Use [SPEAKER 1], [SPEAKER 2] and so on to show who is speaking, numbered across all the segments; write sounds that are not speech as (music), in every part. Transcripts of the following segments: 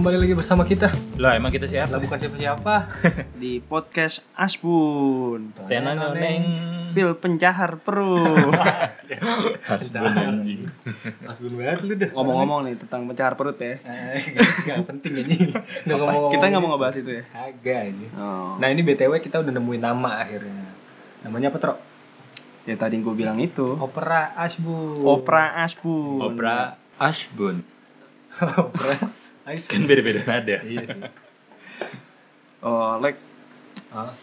[SPEAKER 1] lagi bersama kita.
[SPEAKER 2] Lah emang kita siapa?
[SPEAKER 1] Lah bukan siapa-siapa.
[SPEAKER 3] di podcast Asbun.
[SPEAKER 2] Tenanoneng.
[SPEAKER 3] Pil pencahar perut. (laughs)
[SPEAKER 2] Hasbun anjing.
[SPEAKER 1] Mas Gun banget lu dah.
[SPEAKER 3] Ngomong-ngomong nih tentang pencahar perut
[SPEAKER 1] Eh,
[SPEAKER 3] ya.
[SPEAKER 1] nggak- nggak penting anjing. Nggak ngomong.
[SPEAKER 3] Kita nggak mau ngebahas itu ya.
[SPEAKER 1] Kagak ini.
[SPEAKER 3] Oh.
[SPEAKER 1] Nah, ini BTW kita udah nemuin nama akhirnya. Namanya apa, Tro?
[SPEAKER 3] Ya tadi gue bilang itu.
[SPEAKER 1] Opera Asbu.
[SPEAKER 3] Oh. Opera Asbun.
[SPEAKER 2] Opera Ashbun.
[SPEAKER 1] (laughs) Opera
[SPEAKER 2] Kan
[SPEAKER 1] Asbu.
[SPEAKER 2] beda-beda nada.
[SPEAKER 1] Iya sih.
[SPEAKER 3] Oh, Lek,
[SPEAKER 1] Ah,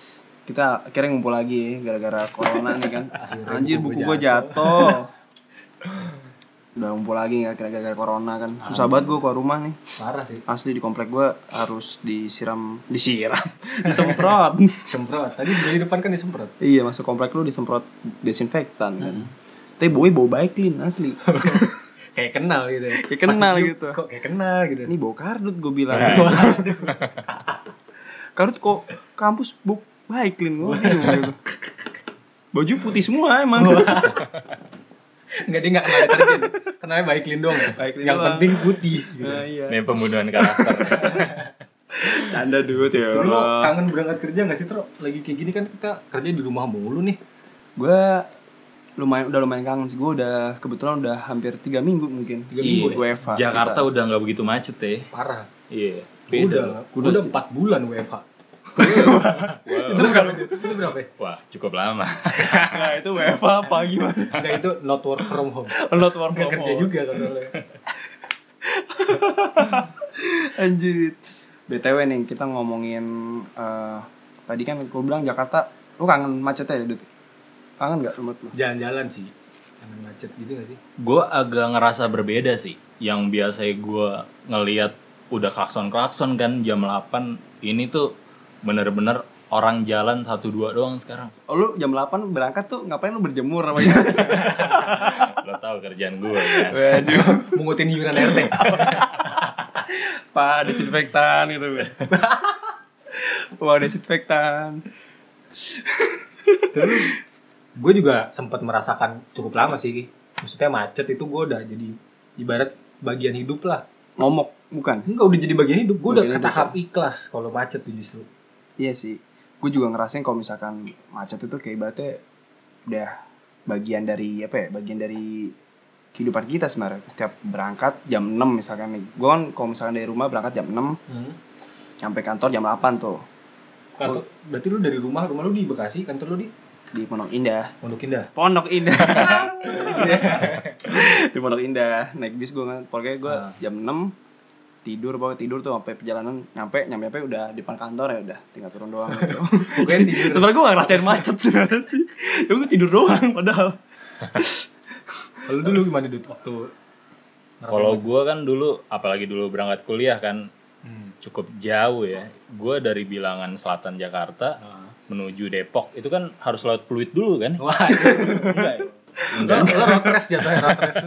[SPEAKER 3] kita akhirnya ngumpul lagi ya gara-gara corona nih (laughs) kan.
[SPEAKER 1] Akhirnya
[SPEAKER 3] Anjir
[SPEAKER 1] buku
[SPEAKER 3] buku
[SPEAKER 1] gua
[SPEAKER 3] gue (laughs) jatuh. Udah ngumpul lagi nggak gara-gara corona kan. Susah banget gue keluar rumah nih.
[SPEAKER 1] parah sih.
[SPEAKER 3] Asli di komplek gue harus disiram, (laughs) disiram, (laughs) disemprot.
[SPEAKER 1] Semprot. Tadi dari depan kan disemprot.
[SPEAKER 3] Iya masuk komplek lu disemprot desinfektan kan. Tapi bau bau baik clean asli.
[SPEAKER 1] Kayak kenal gitu ya.
[SPEAKER 3] Kayak kenal
[SPEAKER 1] Pas dicium,
[SPEAKER 3] gitu.
[SPEAKER 1] Kok kayak kenal gitu.
[SPEAKER 3] Ini bau kardut gue bilang.
[SPEAKER 2] Nah.
[SPEAKER 1] Waduh.
[SPEAKER 3] (laughs) kardut kok kampus bau baik clean gue. gitu. Baju putih semua emang.
[SPEAKER 1] Enggak dia enggak kenal deterjen. Kenalnya baik Lin doang.
[SPEAKER 3] Baiklin
[SPEAKER 1] Yang
[SPEAKER 3] doang.
[SPEAKER 1] penting putih gitu.
[SPEAKER 3] Nah, iya.
[SPEAKER 2] Ini pembunuhan (laughs) karakter.
[SPEAKER 3] Canda duit ya.
[SPEAKER 1] Tapi lo kangen berangkat kerja gak sih, Tro? Lagi kayak gini kan kita kerja di rumah mulu nih.
[SPEAKER 3] Gue lumayan udah lumayan kangen sih gue udah kebetulan udah hampir tiga minggu ya. mungkin
[SPEAKER 1] Tiga minggu
[SPEAKER 2] Iya.
[SPEAKER 3] gue Eva
[SPEAKER 2] (laughs) Jakarta udah nggak begitu macet ya.
[SPEAKER 1] Parah.
[SPEAKER 2] Iya.
[SPEAKER 1] Gua udah,
[SPEAKER 2] Beda.
[SPEAKER 1] gua udah 4 bulan
[SPEAKER 3] (laughs)
[SPEAKER 1] WFH. itu berapa? Itu berapa? ya?
[SPEAKER 2] Wah cukup lama.
[SPEAKER 3] nah, itu Eva apa gimana
[SPEAKER 1] Enggak itu not work from home.
[SPEAKER 3] not war
[SPEAKER 1] Enggak kerja juga kan soalnya.
[SPEAKER 3] Anjir. BTW nih kita ngomongin eh, tadi kan gue bilang Jakarta, lu kangen macetnya ya, Dut? Kangen gak menurut lu?
[SPEAKER 1] Jalan-jalan sih. Kangen macet gitu gak sih?
[SPEAKER 2] Gue agak ngerasa berbeda sih. Yang biasanya gue ngeliat udah klakson-klakson kan jam 8. Ini tuh bener-bener orang jalan satu dua doang sekarang.
[SPEAKER 3] Oh, lu jam 8 berangkat tuh ngapain lu berjemur apa gimana? (laughs)
[SPEAKER 2] Lo tau kerjaan gue (laughs) kan.
[SPEAKER 1] (laughs)
[SPEAKER 3] Waduh,
[SPEAKER 1] Mengutin iuran RT.
[SPEAKER 3] Pak desinfektan gitu. (laughs) Wah, desinfektan.
[SPEAKER 1] Terus gue juga sempat merasakan cukup lama sih. Maksudnya macet itu gue udah jadi ibarat bagian hidup lah.
[SPEAKER 3] Ngomok, bukan?
[SPEAKER 1] Enggak udah jadi bagian hidup. Gue udah
[SPEAKER 3] Bagian
[SPEAKER 1] ke
[SPEAKER 3] hidup,
[SPEAKER 1] tahap ikhlas kalau macet tuh justru.
[SPEAKER 3] Iya sih. Gue juga ngerasain kalau misalkan macet itu kayak ibaratnya udah bagian dari apa ya? Bagian dari kehidupan kita sebenarnya. Setiap berangkat jam 6 misalkan nih. Gue kan kalau misalkan dari rumah berangkat jam 6 sampai kantor jam 8 tuh
[SPEAKER 1] Kantor, Oh, berarti lu dari rumah, rumah lu di Bekasi, kantor lu di
[SPEAKER 3] di Pondok Indah.
[SPEAKER 1] Pondok (laughs) Indah.
[SPEAKER 3] Pondok Indah. (laughs) di Pondok Indah naik bis gue kan, pokoknya gue
[SPEAKER 1] Ah.
[SPEAKER 3] jam 6 tidur pokoknya tidur tuh sampai perjalanan nyampe nyampe nyampe udah di depan kantor ya udah tinggal turun doang (laughs) gitu.
[SPEAKER 1] Bukan tidur.
[SPEAKER 3] sebenarnya gue gak ngerasain macet sebenarnya sih ya gue tidur doang (laughs) padahal
[SPEAKER 1] Kalau dulu gimana Dut waktu ngerasain
[SPEAKER 2] Kalau
[SPEAKER 1] macet?
[SPEAKER 2] gue kan dulu, apalagi dulu berangkat kuliah kan
[SPEAKER 1] Hmm.
[SPEAKER 2] cukup jauh ya. Gue dari bilangan selatan Jakarta menuju Depok itu kan harus lewat Pluit dulu kan?
[SPEAKER 1] (laughs) Wah,
[SPEAKER 2] Enggak.
[SPEAKER 1] lo
[SPEAKER 2] ya? Enggak.
[SPEAKER 1] lo road race jatuhnya road (laughs) race.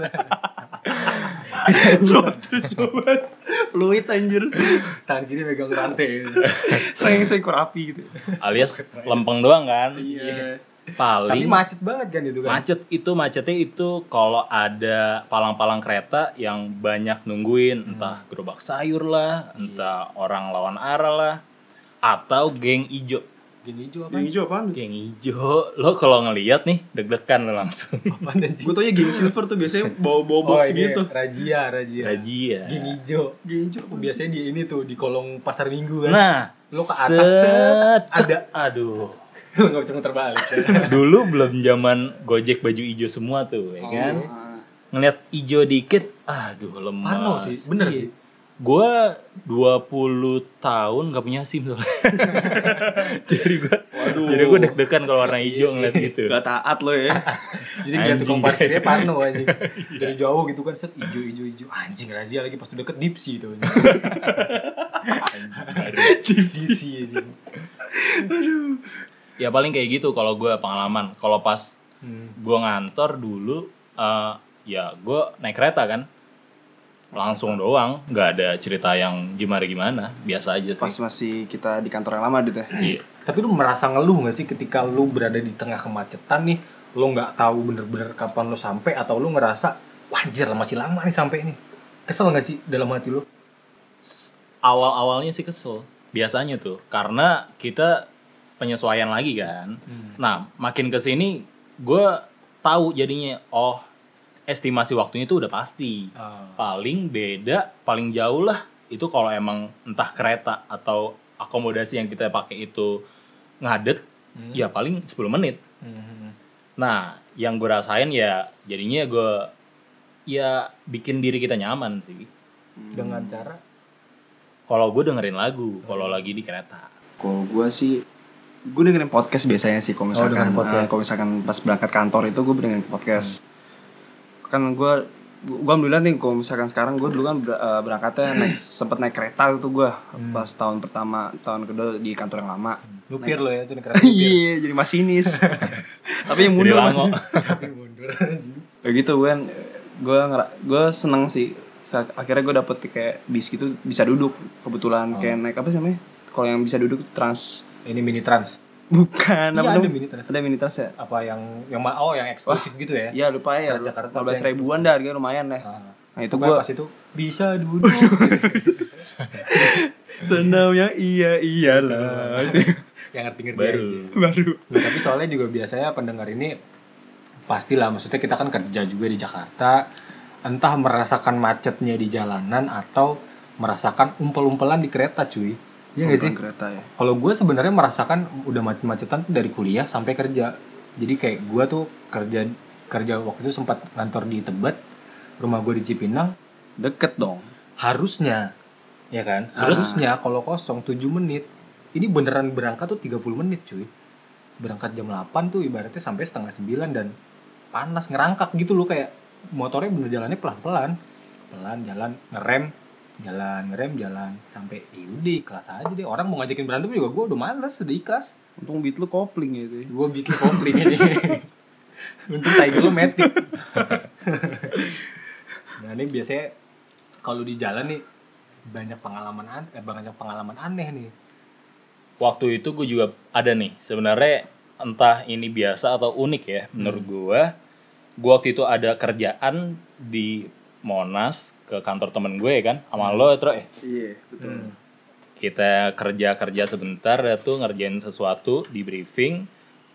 [SPEAKER 3] terus sobat fluid anjir
[SPEAKER 1] Tangan kiri megang (laughs) Iya. rantai.
[SPEAKER 3] sayang sayang kurapi gitu
[SPEAKER 2] Alias lempeng doang kan?
[SPEAKER 1] Iya. Tapi
[SPEAKER 2] Paling
[SPEAKER 1] macet banget kan itu kan.
[SPEAKER 2] macet itu macetnya itu kalau ada palang-palang kereta yang banyak nungguin
[SPEAKER 1] Hmm.
[SPEAKER 2] entah gerobak sayur
[SPEAKER 1] Iya.
[SPEAKER 2] lah, entah orang lawan arah lah atau geng ijo.
[SPEAKER 1] Gini hijau apa?
[SPEAKER 3] yang hijau apaan
[SPEAKER 2] Geng ijo, lo kalau ngelihat nih deg-degan lo langsung.
[SPEAKER 1] Apaan anjing?
[SPEAKER 3] gue tau ya geng silver tuh biasanya bawa bawa box
[SPEAKER 1] ini Oh,
[SPEAKER 3] gitu
[SPEAKER 1] iya. Razia, razia.
[SPEAKER 2] Rajia.
[SPEAKER 1] Gini hijau.
[SPEAKER 3] geng hijau apa sih?
[SPEAKER 1] Biasanya di ini tuh di kolong pasar minggu kan.
[SPEAKER 2] Nah,
[SPEAKER 1] Lo ke atas, set, ada. (laughs)
[SPEAKER 2] Aduh.
[SPEAKER 1] Lo nggak bisa muter balik.
[SPEAKER 2] Dulu belum zaman Gojek baju ijo semua
[SPEAKER 1] Oh.
[SPEAKER 2] tuh,
[SPEAKER 3] Iya
[SPEAKER 2] ya kan? Ngeliat ijo dikit, aduh lemas.
[SPEAKER 1] Parno sih, bener
[SPEAKER 2] Iya.
[SPEAKER 1] sih.
[SPEAKER 2] Gua 20 tahun gak punya SIM soalnya. (laughs) jadi gua
[SPEAKER 3] Waduh.
[SPEAKER 2] jadi gua deg-degan kalau warna
[SPEAKER 1] Iya
[SPEAKER 2] ijo
[SPEAKER 1] sih.
[SPEAKER 2] ngeliat gitu.
[SPEAKER 3] Gak taat lo ya.
[SPEAKER 1] Jadi dia
[SPEAKER 2] Anjing.
[SPEAKER 1] tukang parkirnya Parno anjing. Dari jauh gitu kan set ijo ijo ijo anjing razia lagi pas udah deket dipsi itu. Dipsi anjing.
[SPEAKER 2] (laughs) Ya paling kayak gitu kalau gua pengalaman. Kalau pas
[SPEAKER 1] Hmm.
[SPEAKER 2] gua ngantor dulu eh, ya gua naik kereta kan. Langsung doang, nggak ada cerita yang gimana-gimana, biasa aja
[SPEAKER 3] Pas
[SPEAKER 2] sih.
[SPEAKER 3] masih kita di kantor yang lama gitu ya.
[SPEAKER 2] Iya.
[SPEAKER 1] Tapi lu merasa ngeluh gak sih ketika lu berada di tengah kemacetan nih, lu nggak tahu bener-bener kapan lu sampai atau lu ngerasa wah anjir masih lama nih sampai nih. Kesel gak sih dalam hati lu?
[SPEAKER 2] awal-awalnya sih kesel biasanya tuh karena kita penyesuaian lagi kan nah makin kesini gue tahu jadinya oh estimasi waktunya itu udah pasti paling beda paling jauh lah itu kalau emang entah kereta atau akomodasi yang kita pakai itu ngadet
[SPEAKER 1] Hmm.
[SPEAKER 2] ya paling 10 menit Nah, yang gue rasain ya jadinya gue ya bikin diri kita nyaman sih.
[SPEAKER 1] Hmm. dengan cara
[SPEAKER 2] Kalau gue dengerin lagu, kalau lagi di kereta.
[SPEAKER 3] Kalau gue sih, gue dengerin podcast biasanya sih. Kalau misalkan,
[SPEAKER 1] Oh, dengerin podcast.
[SPEAKER 3] eh, kalau misalkan pas berangkat kantor itu gue dengerin podcast.
[SPEAKER 1] Hmm.
[SPEAKER 3] Kan gue, gue alhamdulillah nih kalau misalkan sekarang gue dulu kan ber- eh, berangkatnya naik, sempet naik kereta itu gue
[SPEAKER 1] Hmm.
[SPEAKER 3] pas tahun pertama, tahun kedua di kantor yang lama.
[SPEAKER 1] nyupir lo ya itu di kereta nyupir.
[SPEAKER 3] (laughs) Iya, jadi
[SPEAKER 1] (laughs)
[SPEAKER 3] masinis. Tapi yang
[SPEAKER 2] Jadi
[SPEAKER 3] mundur. Mas.
[SPEAKER 2] (laughs) lango.
[SPEAKER 1] Tapi mundur anjing.
[SPEAKER 3] Kayak gitu gue, gue ngera- gue seneng sih. Saat- akhirnya gue dapet kayak bis gitu bisa duduk kebetulan kayak
[SPEAKER 1] Oh.
[SPEAKER 3] naik apa sih namanya? Kalau yang bisa duduk trans (laughs)
[SPEAKER 1] ini mini trans iya
[SPEAKER 3] bukan
[SPEAKER 1] ada
[SPEAKER 3] apa namanya?
[SPEAKER 1] mini trans
[SPEAKER 3] Ada mini trans ya?
[SPEAKER 1] apa yang yang ma- oh yang eksklusif gitu ya
[SPEAKER 3] Iya lupa ya.
[SPEAKER 1] Trans Jakarta
[SPEAKER 3] Lima belas
[SPEAKER 1] tuh yang-
[SPEAKER 3] ribuan dah harganya lumayan deh.
[SPEAKER 1] Ah,
[SPEAKER 3] Nah
[SPEAKER 1] itu
[SPEAKER 3] itu gue
[SPEAKER 1] pas itu bisa duduk (laughs)
[SPEAKER 3] senam yang iya
[SPEAKER 1] iyalah. Itu. (laughs) yang ngerti ngerti
[SPEAKER 2] Baru.
[SPEAKER 1] aja
[SPEAKER 3] baru.
[SPEAKER 1] Nah, tapi soalnya juga biasanya pendengar ini pastilah maksudnya kita kan kerja juga di Jakarta entah merasakan macetnya di jalanan atau merasakan umpel-umpelan di kereta cuy iya nggak sih
[SPEAKER 3] Bukan kereta ya.
[SPEAKER 1] kalau gue sebenarnya merasakan udah macet-macetan tuh dari kuliah sampai kerja jadi kayak gue tuh kerja kerja waktu itu sempat kantor di Tebet rumah gue di Cipinang
[SPEAKER 3] Deket dong.
[SPEAKER 1] harusnya ya kan
[SPEAKER 2] Harus.
[SPEAKER 1] harusnya kalau kosong 7 menit ini beneran berangkat tuh 30 menit cuy berangkat jam 8 tuh ibaratnya sampai setengah 9 dan panas ngerangkak gitu loh kayak motornya bener jalannya pelan-pelan pelan jalan ngerem jalan ngerem jalan sampai "Ih, udah kelas aja deh orang mau ngajakin berantem juga gue udah males udah ikhlas
[SPEAKER 3] Untung beat lu kopling ya itu.
[SPEAKER 1] gue bikin komplit ini untuk tai gue metik (laughs) nah ini biasanya kalau di jalan nih banyak pengalaman an- eh, banyak pengalaman aneh nih
[SPEAKER 2] Waktu itu gue juga ada nih. Sebenarnya entah ini biasa atau unik ya menurut gue. Gue waktu itu ada kerjaan di Monas ke kantor temen gue ya kan sama lo Tro, eh
[SPEAKER 3] Iya
[SPEAKER 2] kita kerja-kerja sebentar ya tuh ngerjain sesuatu di briefing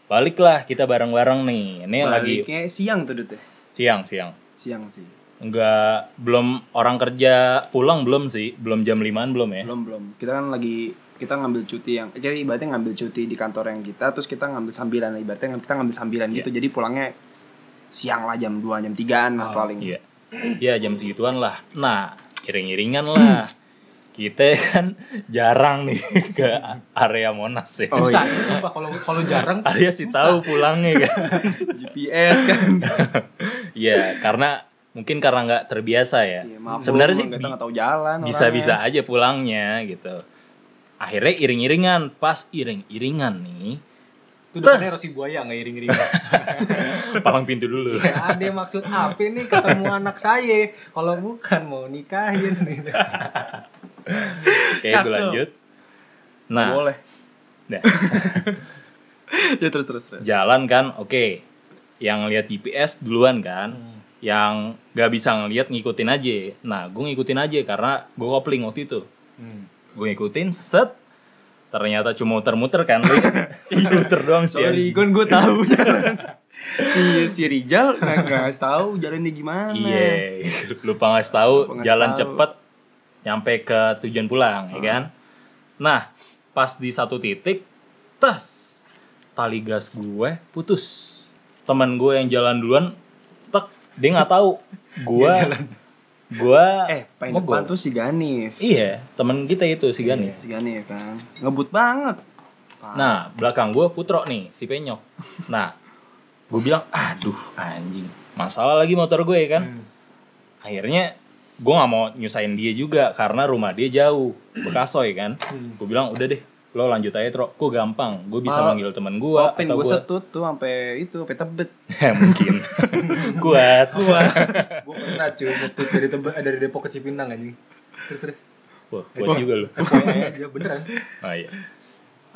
[SPEAKER 2] baliklah kita bareng-bareng nih ini lagi
[SPEAKER 3] Baliknya siang tuh Dut ya.
[SPEAKER 2] siang siang
[SPEAKER 3] Siang sih.
[SPEAKER 2] Enggak, belum orang kerja pulang belum sih, belum jam limaan belum ya.
[SPEAKER 3] Belum belum. Kita kan lagi kita ngambil cuti yang jadi ibaratnya ngambil cuti di kantor yang kita terus kita ngambil sambilan ibaratnya kita ngambil sambilan gitu
[SPEAKER 2] Iya.
[SPEAKER 3] jadi pulangnya siang lah jam 2 jam 3an lah
[SPEAKER 1] Oh,
[SPEAKER 3] paling
[SPEAKER 2] Iya. Ya jam segituan lah. Nah, iring-iringan lah. Kita kan jarang nih (laughs) ke area Monas ya.
[SPEAKER 3] Oh,
[SPEAKER 1] susah
[SPEAKER 3] iya.
[SPEAKER 1] sumpah kalau kalau jarang tuh
[SPEAKER 2] Arya sih
[SPEAKER 1] susah.
[SPEAKER 2] tahu pulangnya kan.
[SPEAKER 3] GPS
[SPEAKER 2] (laughs)
[SPEAKER 3] kan
[SPEAKER 2] Iya, karena mungkin karena nggak terbiasa ya.
[SPEAKER 3] Iya, maaf
[SPEAKER 2] Sebenarnya
[SPEAKER 3] Bro,
[SPEAKER 2] sih
[SPEAKER 3] kita
[SPEAKER 2] bi-
[SPEAKER 3] nggak tahu jalan
[SPEAKER 2] Bisa-bisa aja pulangnya gitu. Akhirnya iring-iringan, pas iring-iringan nih,
[SPEAKER 1] itu depannya roti buaya nggak iring iring
[SPEAKER 2] palang pintu dulu.
[SPEAKER 3] Iya,
[SPEAKER 1] ada maksud apa nih ketemu anak saya kalau bukan mau nikahin gitu.
[SPEAKER 2] Kayak itu
[SPEAKER 3] Cakep.
[SPEAKER 2] lanjut.
[SPEAKER 3] orangnya.
[SPEAKER 2] Nah,
[SPEAKER 3] boleh
[SPEAKER 2] Nah.
[SPEAKER 3] (laughs) ya terus terus terus
[SPEAKER 2] jalan kan oke yang lihat GPS duluan kan yang gak bisa ngelihat ngikutin aja nah gue ngikutin aja karena gue kopling waktu itu
[SPEAKER 1] Hmm.
[SPEAKER 2] gue ngikutin set ternyata cuma muter-muter
[SPEAKER 3] (laughs)
[SPEAKER 2] kan muter doang sih
[SPEAKER 3] sorry kan gue
[SPEAKER 2] (laughs)
[SPEAKER 3] tahu jalan si si Rijal nggak nggak ngasih tahu jalannya gimana
[SPEAKER 2] iya lupa ngasih tahu
[SPEAKER 3] Lupa ngasih
[SPEAKER 2] jalan
[SPEAKER 3] tahu. Ah.
[SPEAKER 2] cepet nyampe ke tujuan pulang ya kan nah pas di satu titik tas tali gas gue putus teman gue yang jalan duluan tek dia nggak
[SPEAKER 3] (laughs)
[SPEAKER 2] tahu gue
[SPEAKER 1] Dia jalan.
[SPEAKER 2] gue
[SPEAKER 3] eh paling
[SPEAKER 2] Mogok.
[SPEAKER 3] depan tuh si Ganif
[SPEAKER 2] iya teman kita itu si Gani
[SPEAKER 3] si Ganif kan ngebut banget Parah.
[SPEAKER 2] Nah, belakang gue Putro nih, si penyok. Nah, gue bilang, aduh anjing, masalah lagi motor gue ya kan.
[SPEAKER 1] Hmm.
[SPEAKER 2] Akhirnya gue nggak mau nyusahin dia juga karena rumah dia jauh, Bekasoy kan.
[SPEAKER 1] Hmm.
[SPEAKER 2] Gue bilang, udah deh, lo lanjut aja Tro, gue gampang, gue bisa
[SPEAKER 3] Mal-
[SPEAKER 2] manggil temen gue atau
[SPEAKER 3] Gopin gue
[SPEAKER 2] gue (laughs)
[SPEAKER 3] setut tuh sampai itu sampai tebet.
[SPEAKER 2] mungkin kuat.
[SPEAKER 1] gue pernah cuy ngetut dari Tebe- eh, dari Depok ke Cipinang anjing terus terus
[SPEAKER 2] Wah, kuat juga lo.
[SPEAKER 1] FYI aja beneran
[SPEAKER 2] Nah, iya.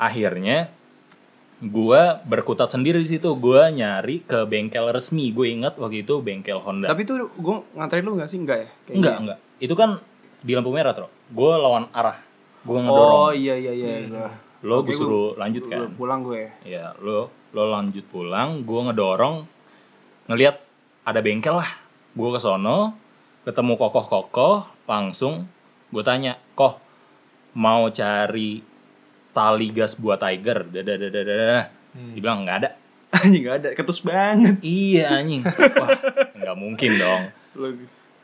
[SPEAKER 2] Akhirnya gue berkutat sendiri di situ, gue nyari ke bengkel resmi. Gue ingat waktu itu bengkel Honda.
[SPEAKER 3] Tapi tuh gue nganterin lu gak sih? Enggak ya? Kayaknya.
[SPEAKER 2] Enggak, enggak. Itu kan di lampu merah tuh gue lawan arah gue
[SPEAKER 3] Oh
[SPEAKER 2] ngedorong
[SPEAKER 3] iya iya iya.
[SPEAKER 1] Hmm.
[SPEAKER 3] Gua-
[SPEAKER 2] lo gue
[SPEAKER 3] Oke,
[SPEAKER 2] suruh lanjut
[SPEAKER 3] gua
[SPEAKER 2] kan
[SPEAKER 3] Pulang gue.
[SPEAKER 2] ya lo lo lanjut pulang gue ngedorong ngelihat ada bengkel lah gue ke sono ketemu kokoh kokoh langsung gue tanya koh mau cari tali gas buat tiger dadadadadada
[SPEAKER 1] Hmm.
[SPEAKER 2] dibilang nggak ada
[SPEAKER 3] (laughs) Anjing gak ada, ketus banget.
[SPEAKER 2] iya anjing (laughs) wah nggak mungkin dong
[SPEAKER 3] Lu,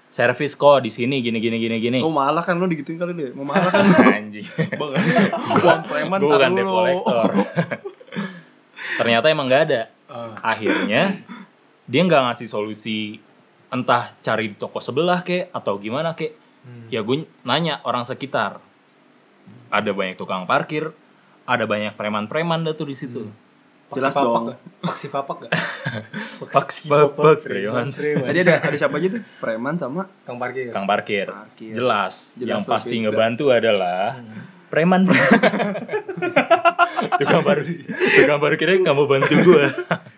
[SPEAKER 2] servis kok di sini gini gini gini gini
[SPEAKER 3] lu malah kan lu digituin kali deh. Mau malah kan
[SPEAKER 2] (laughs) anjing
[SPEAKER 3] bang. (laughs) Buang preman
[SPEAKER 2] gue bukan
[SPEAKER 3] tar
[SPEAKER 2] debt
[SPEAKER 3] dulu.
[SPEAKER 2] collector (laughs) ternyata emang nggak ada
[SPEAKER 1] Ah,
[SPEAKER 2] akhirnya dia nggak ngasih solusi entah cari di toko sebelah kek atau gimana kek
[SPEAKER 1] hmm.
[SPEAKER 2] ya gue nanya orang sekitar ada banyak tukang parkir ada banyak preman-preman dah tuh di situ
[SPEAKER 1] Paksi
[SPEAKER 3] Jelas
[SPEAKER 1] papak
[SPEAKER 3] dong.
[SPEAKER 1] nggak? Paksi papak
[SPEAKER 3] (laughs)
[SPEAKER 1] gak?
[SPEAKER 2] Paksi papak, Reon.
[SPEAKER 3] Tadi ada ada siapa aja tuh? Preman sama
[SPEAKER 1] (laughs) Kang parkir.
[SPEAKER 2] tukang parkir
[SPEAKER 3] parkir.
[SPEAKER 2] jelas,
[SPEAKER 3] Jelas
[SPEAKER 2] yang
[SPEAKER 3] tuh,
[SPEAKER 2] pasti
[SPEAKER 3] beda.
[SPEAKER 2] ngebantu adalah
[SPEAKER 1] Hmm.
[SPEAKER 2] preman (laughs) tukang parkir tukang parkirnya nggak mau bantu gue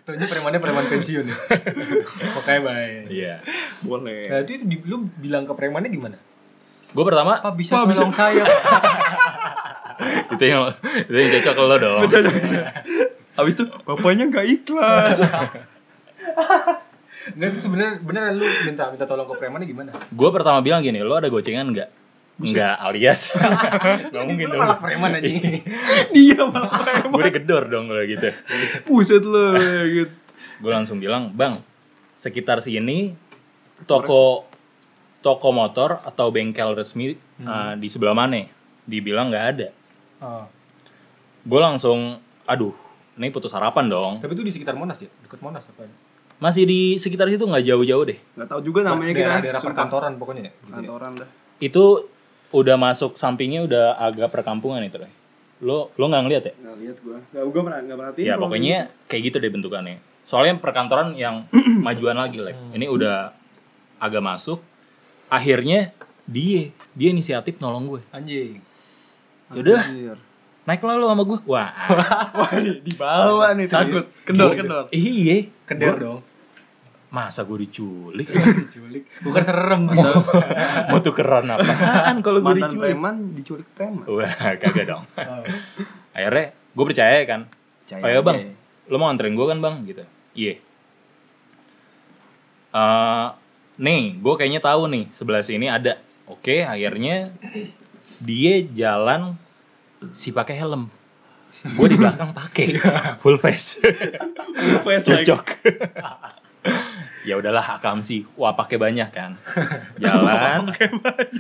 [SPEAKER 1] Tuhnya premannya preman pensiun
[SPEAKER 3] (laughs)
[SPEAKER 1] ya. Oke baik.
[SPEAKER 2] iya
[SPEAKER 1] Nah
[SPEAKER 3] Boleh.
[SPEAKER 1] itu, itu di- lu bilang ke premannya gimana?
[SPEAKER 2] gue pertama
[SPEAKER 1] Pak bisa
[SPEAKER 3] Pak, bisa.
[SPEAKER 1] tolong
[SPEAKER 3] (laughs)
[SPEAKER 1] saya. Pak?"
[SPEAKER 2] itu yang itu yang cocok ke lo dong
[SPEAKER 3] Habis itu bapaknya gak ikhlas.
[SPEAKER 2] (laughs)
[SPEAKER 1] Nggak itu sebenarnya beneran lu minta minta tolong ke premannya gimana?
[SPEAKER 2] gue pertama bilang gini lo ada gocengan nggak nggak
[SPEAKER 1] (laughs)
[SPEAKER 2] alias nggak mungkin
[SPEAKER 1] Lu
[SPEAKER 2] dong
[SPEAKER 1] malah (laughs)
[SPEAKER 3] (laughs)
[SPEAKER 1] preman
[SPEAKER 3] Iya.
[SPEAKER 1] aja.
[SPEAKER 3] Dia malah
[SPEAKER 2] gue digedor dong kalau gitu
[SPEAKER 3] Buset lu gitu.
[SPEAKER 2] gue langsung bilang bang sekitar sini toko toko motor atau bengkel resmi
[SPEAKER 1] Hmm.
[SPEAKER 3] Ah.
[SPEAKER 2] eh, di sebelah mana dibilang nggak ada
[SPEAKER 1] Oh,
[SPEAKER 2] gue langsung aduh ini putus harapan dong
[SPEAKER 1] tapi itu di sekitar Monas ya, dekat Monas apa?
[SPEAKER 2] masih di sekitar situ nggak jauh-jauh deh
[SPEAKER 3] Gak tau juga namanya kita. kan,
[SPEAKER 1] daerah-daerah
[SPEAKER 3] Sumpah.
[SPEAKER 1] perkantoran pokoknya ya. Gitu ya.
[SPEAKER 3] Kantoran dah.
[SPEAKER 2] itu udah masuk sampingnya udah agak perkampungan itu deh lo lo nggak ngeliat ya
[SPEAKER 3] Gak lihat gua. Gak gua pernah gak perhatiin.
[SPEAKER 2] ya
[SPEAKER 3] kalau
[SPEAKER 2] pokoknya kayak gitu deh bentukannya soalnya perkantoran yang majuan lagi lah
[SPEAKER 1] Hmm.
[SPEAKER 2] ini udah agak masuk akhirnya dia dia inisiatif nolong gue
[SPEAKER 1] Anjing.
[SPEAKER 3] gitu.
[SPEAKER 2] yaudah.
[SPEAKER 3] Anjir.
[SPEAKER 2] naiklah lo sama gue wah
[SPEAKER 3] Wah, di- dibawa nih
[SPEAKER 1] Serius.
[SPEAKER 3] takut. Kendor, kendor.
[SPEAKER 2] iya
[SPEAKER 1] Keder
[SPEAKER 2] Gua-
[SPEAKER 1] dong. (laughs)
[SPEAKER 2] masa gue diculik (laughs)
[SPEAKER 1] Diculik. Bukan serem. Oh,
[SPEAKER 2] mau tukeran apaan kalau gue
[SPEAKER 3] Mantan
[SPEAKER 2] diculik
[SPEAKER 3] preman diculik preman.
[SPEAKER 2] wah kagak dong
[SPEAKER 1] Oh.
[SPEAKER 2] akhirnya gue percaya kan Oh, iya, Bang. lo mau anterin gue kan bang gitu iya Eh, nih gue kayaknya tahu nih sebelah sini ada oke akhirnya dia jalan si pakai helm gue di belakang
[SPEAKER 1] (laughs)
[SPEAKER 2] pakai
[SPEAKER 1] Iya.
[SPEAKER 2] full face
[SPEAKER 3] Face lagi.
[SPEAKER 2] cocok (laughs) ya udahlah akamsi wah pakai banyak kan
[SPEAKER 1] (laughs)
[SPEAKER 2] jalan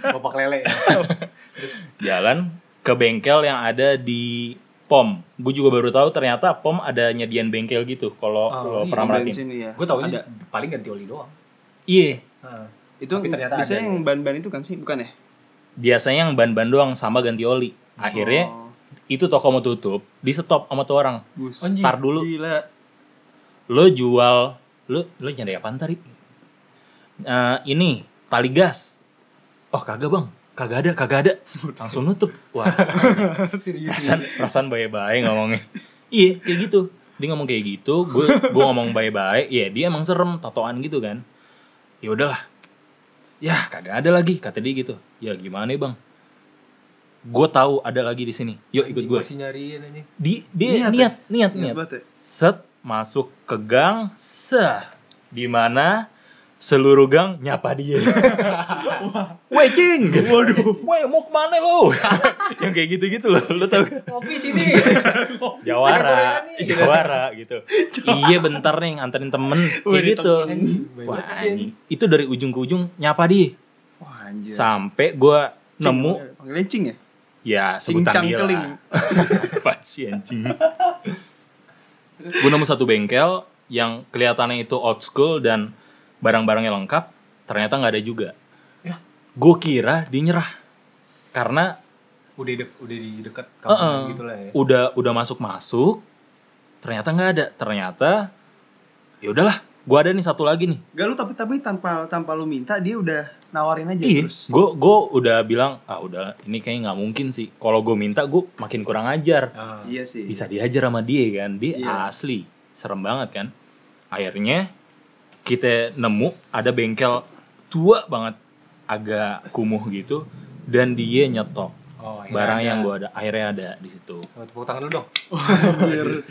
[SPEAKER 1] Bapak lele.
[SPEAKER 2] jalan ke bengkel yang ada di pom gue juga baru tahu ternyata pom ada nyedian bengkel gitu kalau
[SPEAKER 1] Oh,
[SPEAKER 2] kalau
[SPEAKER 1] iya,
[SPEAKER 2] pernah merhatiin
[SPEAKER 3] Bensin, iya.
[SPEAKER 1] Gue taunya paling ganti oli doang.
[SPEAKER 2] Iya.
[SPEAKER 1] Heeh.
[SPEAKER 3] Itu
[SPEAKER 1] Tapi ternyata
[SPEAKER 3] biasanya
[SPEAKER 1] ada.
[SPEAKER 3] yang ban-ban itu kan sih, bukan ya?
[SPEAKER 2] Biasanya yang ban-ban doang sama ganti oli. Akhirnya
[SPEAKER 3] Oh,
[SPEAKER 2] itu toko mau tutup, di stop sama tuh orang.
[SPEAKER 3] bus.
[SPEAKER 1] Anjing.
[SPEAKER 2] Tar dulu,
[SPEAKER 3] Gila.
[SPEAKER 2] lo jual, lo lo nyari apaan tadi? Eh, ini tali gas. Oh kagak bang, kagak ada, kagak ada. Langsung nutup. Wah, (laughs)
[SPEAKER 1] Serius.
[SPEAKER 2] perasaan perasaan baik-baik ngomongnya. Iya, kayak gitu. Dia ngomong kayak gitu, gue gue ngomong baik-baik. Iya, dia emang serem, tatoan gitu kan. Ya udahlah. Ya, kagak ada lagi, kata dia gitu. Ya gimana ya, bang? Gue tahu ada lagi di sini. Yuk ikut
[SPEAKER 1] Anjing,
[SPEAKER 2] gue.
[SPEAKER 1] Masih nyariin anjing.
[SPEAKER 2] Di, dia
[SPEAKER 3] Niat ya?
[SPEAKER 2] niat, niat,
[SPEAKER 3] Ingat
[SPEAKER 2] niat,
[SPEAKER 3] banget ya?
[SPEAKER 2] Set masuk ke gang, seh. Di mana seluruh gang nyapa
[SPEAKER 3] (laughs)
[SPEAKER 2] dia. Weh, Cing! Waduh. Weh, mau kemana lo? (laughs) Yang kayak gitu-gitu loh, lo tau kan?
[SPEAKER 1] Kopi sini.
[SPEAKER 3] Oh,
[SPEAKER 2] Jawara, Jawara gitu. iya bentar nih nganterin temen, kayak
[SPEAKER 3] Wih,
[SPEAKER 2] gitu.
[SPEAKER 1] Anjing, baik
[SPEAKER 2] Wah,
[SPEAKER 1] banget,
[SPEAKER 3] iya.
[SPEAKER 2] anjing. itu dari ujung ke ujung nyapa dia.
[SPEAKER 3] Wah, anjir.
[SPEAKER 2] Sampai gua nemu,
[SPEAKER 3] Panggilnya cing ya?
[SPEAKER 2] ya
[SPEAKER 3] Cing
[SPEAKER 2] sebutan dia
[SPEAKER 3] cangkeling.
[SPEAKER 2] lah. (laughs) Apa sih anjing? Gue nemu satu bengkel yang kelihatannya itu old school dan barang-barangnya lengkap, ternyata nggak ada juga.
[SPEAKER 1] Yah.
[SPEAKER 2] Gue kira dia nyerah karena
[SPEAKER 1] udah dek udah di dekat
[SPEAKER 2] Heeh.
[SPEAKER 1] kamar gitu lah ya.
[SPEAKER 2] udah udah masuk-masuk, ternyata nggak ada. Ternyata ya udahlah, gue ada nih satu lagi nih.
[SPEAKER 3] Gak lu tapi tapi tanpa tanpa lu minta dia udah nawarin aja
[SPEAKER 2] Iya,
[SPEAKER 3] terus.
[SPEAKER 2] gue gue udah bilang ah udah ini kayaknya nggak mungkin sih. Kalau gue minta gue makin kurang ajar.
[SPEAKER 1] Ah.
[SPEAKER 3] Iya sih.
[SPEAKER 2] bisa diajar sama dia kan dia
[SPEAKER 3] Iya.
[SPEAKER 2] asli serem banget kan akhirnya kita nemu ada bengkel tua banget agak kumuh gitu dan dia nyetok
[SPEAKER 1] Oh, akhirnya
[SPEAKER 2] barang
[SPEAKER 1] ada.
[SPEAKER 2] yang gua ada akhirnya ada di situ.
[SPEAKER 1] Oh, tepuk tangan dulu dong.
[SPEAKER 3] Anjir.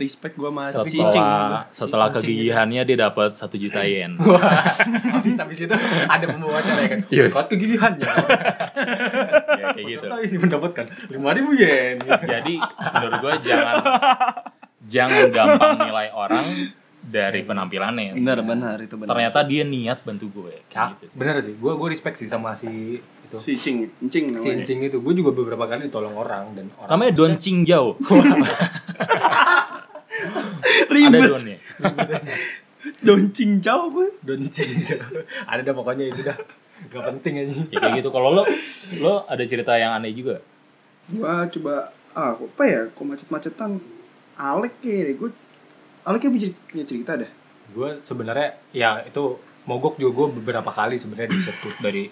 [SPEAKER 3] Respect gua sama
[SPEAKER 1] Si kucing.
[SPEAKER 2] Setelah
[SPEAKER 1] Si
[SPEAKER 2] setelah
[SPEAKER 1] kucing Iya.
[SPEAKER 2] kegigihannya dia dapat satu juta
[SPEAKER 1] (laughs)
[SPEAKER 2] yen.
[SPEAKER 1] habis habis itu ada pembawa acara ya kan.
[SPEAKER 2] Iya.
[SPEAKER 1] Kau kegigihannya.
[SPEAKER 2] ya, kayak gitu.
[SPEAKER 1] Peserta ini mendapatkan 5000 yen.
[SPEAKER 2] Jadi menurut gua jangan jangan gampang nilai orang
[SPEAKER 1] Iya.
[SPEAKER 2] dari penampilannya.
[SPEAKER 3] Benar, benar itu benar.
[SPEAKER 2] Ternyata dia niat bantu gue.
[SPEAKER 1] Ah,
[SPEAKER 2] Kayak gitu. sih.
[SPEAKER 1] bener sih, gue gue respect sih sama si itu si,
[SPEAKER 3] si Cing, Cing namanya.
[SPEAKER 1] Encing itu. Gue juga beberapa kali ditolong orang dan orang
[SPEAKER 2] Namanya Don Cingjau. Ada ya?
[SPEAKER 3] Ribet.
[SPEAKER 2] Donnya.
[SPEAKER 3] Don Cing Jauh apa?
[SPEAKER 1] Doncing. (laughs) ada dah pokoknya itu dah. Gak penting aja.
[SPEAKER 2] Ya kayak gitu. Kalau lo lo ada cerita yang aneh juga?
[SPEAKER 3] Gua coba ah kok apa ya? Kok macet-macetan Alek kayaknya deh. Gua Alek kayak punya cer- punya cerita dah.
[SPEAKER 1] gue sebenarnya ya itu mogok juga gue beberapa kali sebenarnya disetut dari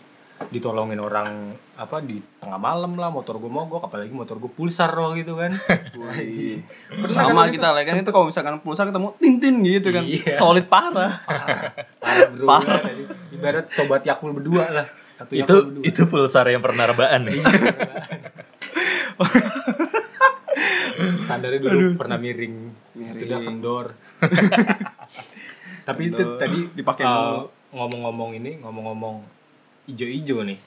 [SPEAKER 1] ditolongin orang apa di tengah malam lah motor gue mogok apalagi motor gue pulsar loh gitu kan
[SPEAKER 3] Woi.
[SPEAKER 1] Pernah kan
[SPEAKER 3] Sama kita lah kan itu kalau misalkan pulsa ketemu Tintin gitu kan.
[SPEAKER 1] Iya.
[SPEAKER 3] Solid parah.
[SPEAKER 1] Parah, bro.
[SPEAKER 3] Parah.
[SPEAKER 1] Iya, ibarat sobat yakul berdua lah Satu
[SPEAKER 2] itu
[SPEAKER 1] Yakul berdua.
[SPEAKER 2] itu pulsar yang pernah rebaan ya.
[SPEAKER 1] sandarnya dulu pernah miring, itu
[SPEAKER 3] Miring.
[SPEAKER 1] udah kendor tapi itu
[SPEAKER 3] Kendor.
[SPEAKER 1] tadi
[SPEAKER 3] Dipakai
[SPEAKER 1] eh,
[SPEAKER 3] mulu.
[SPEAKER 1] ngomong-ngomong ini ngomong-ngomong ijo-ijo nih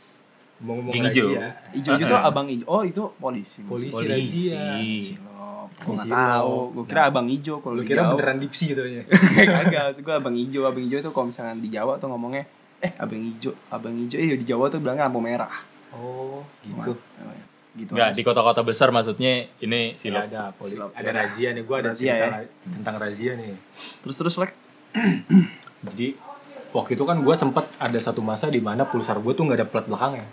[SPEAKER 1] ngomong-ngomong
[SPEAKER 2] Geng ijo.
[SPEAKER 1] razia.
[SPEAKER 3] Ijo itu
[SPEAKER 2] Heeh.
[SPEAKER 3] abang ijo. Oh, itu polisi.
[SPEAKER 1] polisi,
[SPEAKER 2] Polisi.
[SPEAKER 1] razia
[SPEAKER 3] Silop. Gua nggak
[SPEAKER 1] Silop.
[SPEAKER 3] tahu. Gua kira abang ijo kalau
[SPEAKER 1] lu
[SPEAKER 3] di
[SPEAKER 1] kira
[SPEAKER 3] Jawa.
[SPEAKER 1] beneran dipsi gitu ya
[SPEAKER 3] (laughs) Kagak, gue abang ijo, abang ijo itu kalau misalkan di Jawa tuh ngomongnya eh abang ijo, abang ijo, eh di Jawa tuh bilangnya lampu merah.
[SPEAKER 1] oh gitu
[SPEAKER 3] Gitu.
[SPEAKER 2] Enggak, di kota-kota besar maksudnya
[SPEAKER 1] Iya,
[SPEAKER 2] ini silap.
[SPEAKER 1] ada poli-
[SPEAKER 3] Silop.
[SPEAKER 1] ada razia nih gua ada
[SPEAKER 3] Razia
[SPEAKER 1] cerita
[SPEAKER 3] ya.
[SPEAKER 1] la- tentang razia nih
[SPEAKER 3] Terus terus lek.
[SPEAKER 1] jadi waktu itu kan gua sempet ada satu masa di mana pulsar gua tuh nggak ada plat belakangnya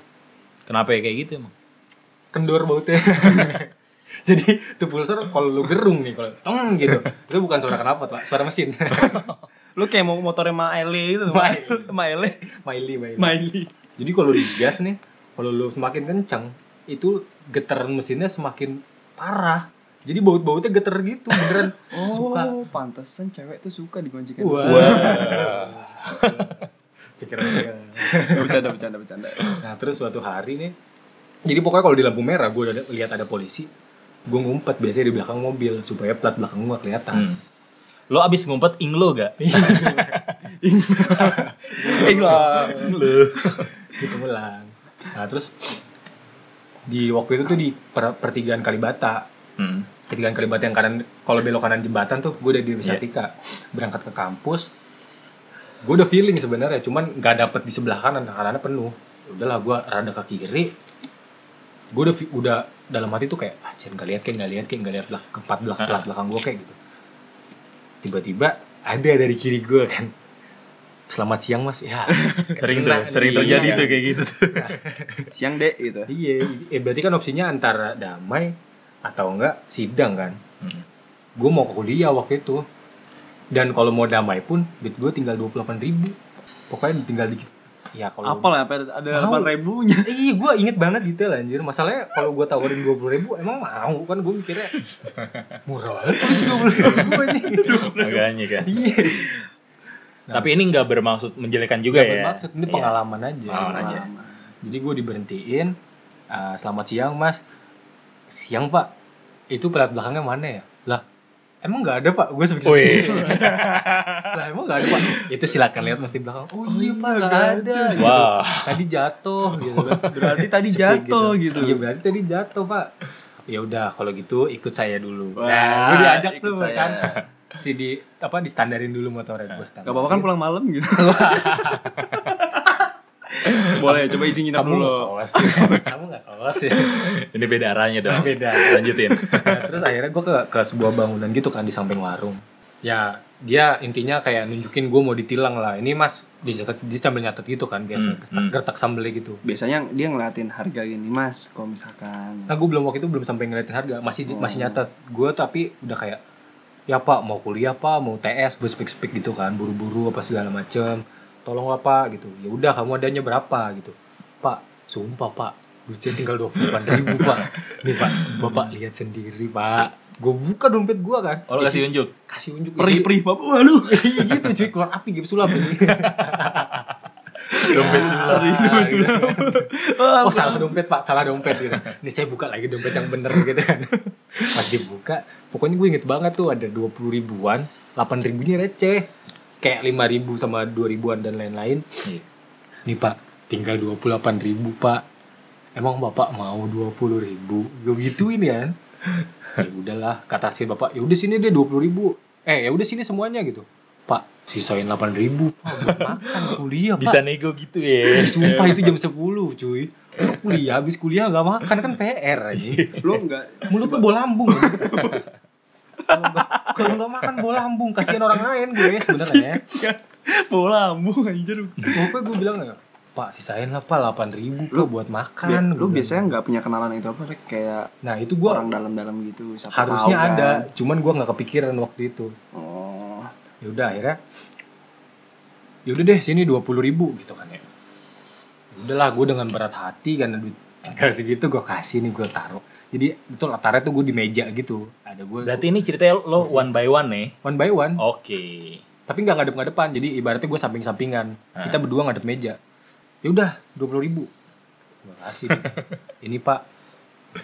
[SPEAKER 2] Kenapa ya kayak gitu emang?
[SPEAKER 1] kendor bautnya (laughs) jadi tuh pulsar kalau lu gerung nih kalau tong gitu itu bukan suara kenapa pak suara mesin (laughs)
[SPEAKER 3] Lu kayak mau motornya Maele itu,
[SPEAKER 1] Maele.
[SPEAKER 3] Maele,
[SPEAKER 1] maili maili
[SPEAKER 3] Maili.
[SPEAKER 1] jadi kalau digas nih kalau lu semakin kenceng itu getaran mesinnya semakin parah jadi baut-bautnya geter gitu
[SPEAKER 3] (laughs)
[SPEAKER 1] beneran
[SPEAKER 3] Oh,
[SPEAKER 1] Suka.
[SPEAKER 3] pantesan cewek tuh suka digoncengin.
[SPEAKER 1] Wah. Pikiran saya.
[SPEAKER 3] bercanda bercanda bercanda.
[SPEAKER 1] Nah terus suatu hari nih, jadi pokoknya kalau di lampu merah gue ada, lihat ada polisi, gue ngumpet biasanya di belakang mobil supaya plat belakang gue kelihatan.
[SPEAKER 2] Hmm. Lo abis ngumpet inglo gak?
[SPEAKER 3] Enggak.
[SPEAKER 2] Inglo.
[SPEAKER 1] Gitu ulang. Nah terus di waktu itu tuh di per- pertigaan Kalibata,
[SPEAKER 2] Hmm.
[SPEAKER 1] pertigaan Kalibata kan yang kanan, kalau belok kanan jembatan tuh gue udah di
[SPEAKER 2] Iya.
[SPEAKER 1] Wisatika, berangkat ke kampus. Gue udah feeling sebenarnya, cuman nggak dapet di sebelah kanan, kanannya penuh. Ya Udahlah gue rada ke kiri, gue udah fi- udah dalam hati tuh kayak ah cian gak lihat kayak nggak lihat kayak nggak lihat belak keempat belak belak belakang gue kayak gitu tiba-tiba ada dari kiri gue kan selamat siang mas ya
[SPEAKER 2] (laughs) Sering
[SPEAKER 1] Pernah
[SPEAKER 2] tuh, sering
[SPEAKER 1] sih,
[SPEAKER 2] terjadi
[SPEAKER 1] iya.
[SPEAKER 2] tuh kayak gitu. (laughs) tuh.
[SPEAKER 3] Siang dek gitu.
[SPEAKER 1] iya eh, berarti kan opsinya antara damai atau enggak sidang kan
[SPEAKER 2] Hmm.
[SPEAKER 1] gue mau kuliah waktu itu dan kalau mau damai pun duit gue tinggal dua ribu pokoknya tinggal dikit ya kalau
[SPEAKER 3] Apalah apa ada- ada
[SPEAKER 1] Mau.
[SPEAKER 3] delapan ribunya.
[SPEAKER 1] Iya, gue inget banget detail anjir. Masalahnya kalau gue tawarin dua puluh ribu, emang mau kan gue mikirnya murah banget terus dua puluh ribu aja.
[SPEAKER 2] Makanya kan.
[SPEAKER 1] Iya. Nah.
[SPEAKER 2] Tapi ini nggak bermaksud menjelekan juga ya.
[SPEAKER 1] Maksud ini
[SPEAKER 2] Iya.
[SPEAKER 1] pengalaman aja.
[SPEAKER 2] Pengalaman aja.
[SPEAKER 3] Lama.
[SPEAKER 1] Jadi gue diberhentiin. "Ah, selamat siang mas. Siang pak. Itu pelat belakangnya mana ya? Lah, emang nggak ada pak? Gue
[SPEAKER 2] Wih.
[SPEAKER 1] sebisa lah emang nggak ada pak. Itu silakan lihat mas di belakang. Oh iya pak, nggak
[SPEAKER 3] nggak
[SPEAKER 1] ada. gitu.
[SPEAKER 2] Wah.
[SPEAKER 1] Tadi jatuh gitu
[SPEAKER 3] (laughs)
[SPEAKER 1] kan.
[SPEAKER 3] Berarti tadi jatuh gitu.
[SPEAKER 1] Iya berarti tadi jatuh pak. Ya udah kalau gitu ikut saya dulu.
[SPEAKER 3] Wah,
[SPEAKER 1] Nah, gue diajak
[SPEAKER 3] ikut
[SPEAKER 1] tuh
[SPEAKER 3] saya.
[SPEAKER 1] kan. Si di apa distandarin dulu motornya gue standar.
[SPEAKER 3] Gak apa-apa kan pulang malam gitu. (laughs) Boleh coba isi nginep
[SPEAKER 1] Kamu
[SPEAKER 3] dulu.
[SPEAKER 1] nggak kelas
[SPEAKER 3] (laughs)
[SPEAKER 1] ya. Kamu nggak kelas ya.
[SPEAKER 2] Ini beda arahnya dong.
[SPEAKER 1] Beda.
[SPEAKER 2] (laughs) Lanjutin.
[SPEAKER 1] Nah, terus akhirnya gue ke, ke sebuah bangunan gitu kan di samping warung. Ya dia intinya kayak nunjukin gue mau ditilang lah. Ini mas dicatat dia sambil nyatet gitu kan biasa
[SPEAKER 2] Hmm,
[SPEAKER 1] gertak,
[SPEAKER 2] hmm.
[SPEAKER 1] gertak sambilnya gitu.
[SPEAKER 3] Biasanya dia ngeliatin harga ini mas, kalau misalkan
[SPEAKER 1] Nah gue belum waktu itu belum sampai ngeliatin harga masih di-
[SPEAKER 3] Oh.
[SPEAKER 1] masih nyatet. Gue tapi udah kayak ya pak mau kuliah pak mau TS gue speak speak gitu kan buru-buru apa segala macem. Tolong lah pak gitu. Ya udah kamu adanya berapa gitu. Pak sumpah pak duitnya tinggal dua ribu pak. Nih pak bapak lihat sendiri pak. Gue buka dompet gue kan.
[SPEAKER 2] Oh, lo
[SPEAKER 1] Isi-
[SPEAKER 2] kasih unjuk.
[SPEAKER 1] (laughs) kasih unjuk isi-
[SPEAKER 3] perih perih bab, waduh.
[SPEAKER 1] Iya gitu cuy keluar api gitu sulap ini.
[SPEAKER 2] Dompet sebelah.
[SPEAKER 1] Ah, gitu.
[SPEAKER 3] Oh,
[SPEAKER 1] (laughs) Oh salah dompet pak, salah dompet gitu. Ini saya buka lagi dompet yang bener gitu (laughs) kan. Pas dibuka, pokoknya gue inget banget tuh ada 20 ribuan, 8 ribunya receh. Kayak 5 ribu sama 2 ribuan dan lain-lain.
[SPEAKER 2] Iya.
[SPEAKER 1] Nih pak, tinggal 28 ribu pak. Emang bapak mau 20 ribu? Gue gituin kan. Ya udahlah, kata si bapak, ya udah sini deh 20 ribu. Eh ya udah sini semuanya gitu. Pak, sisain 8 ribu. Pak, buat makan kuliah pak.
[SPEAKER 2] Bisa nego gitu ya.
[SPEAKER 1] Ih,
[SPEAKER 2] (laughs)
[SPEAKER 1] Sumpah itu jam 10 cuy Lu kuliah, habis kuliah gak makan kan PR aja
[SPEAKER 3] Lu enggak
[SPEAKER 1] Mulut lu bola lambung Kalau nggak- Kalau gak makan bola lambung Kasian orang lain gue ya,
[SPEAKER 2] ya? (laughs)
[SPEAKER 1] sebenarnya
[SPEAKER 2] Bola mu anjir.
[SPEAKER 1] Pokoknya gue bilang ya Pak sisain lah pak 8 ribu pak
[SPEAKER 3] Lu-
[SPEAKER 1] buat
[SPEAKER 3] Bi-
[SPEAKER 1] makan Gua
[SPEAKER 3] lu
[SPEAKER 1] bilang.
[SPEAKER 3] biasanya nggak punya kenalan itu apa Rek? kayak
[SPEAKER 1] Nah itu gue
[SPEAKER 3] orang dalam-dalam gitu siapa
[SPEAKER 1] harusnya
[SPEAKER 3] tahu, kan?
[SPEAKER 1] ada Cuman gue gak kepikiran waktu itu
[SPEAKER 3] oh
[SPEAKER 1] ya udah akhirnya ya udah deh sini dua puluh ribu gitu kan ya Ya udahlah gue dengan berat hati karena duit tinggal segitu gue kasih nih gue taruh jadi itu latarnya tuh gue di meja gitu ada gue
[SPEAKER 2] Berarti ini ceritanya lo one by one nih.
[SPEAKER 1] one by one
[SPEAKER 2] Oke.
[SPEAKER 1] tapi nggak ngadep ngadepan jadi ibaratnya gue samping sampingan
[SPEAKER 2] Ah.
[SPEAKER 1] kita berdua ngadep meja ya udah dua puluh ribu gue kasih
[SPEAKER 2] (laughs)
[SPEAKER 1] nih. ini pak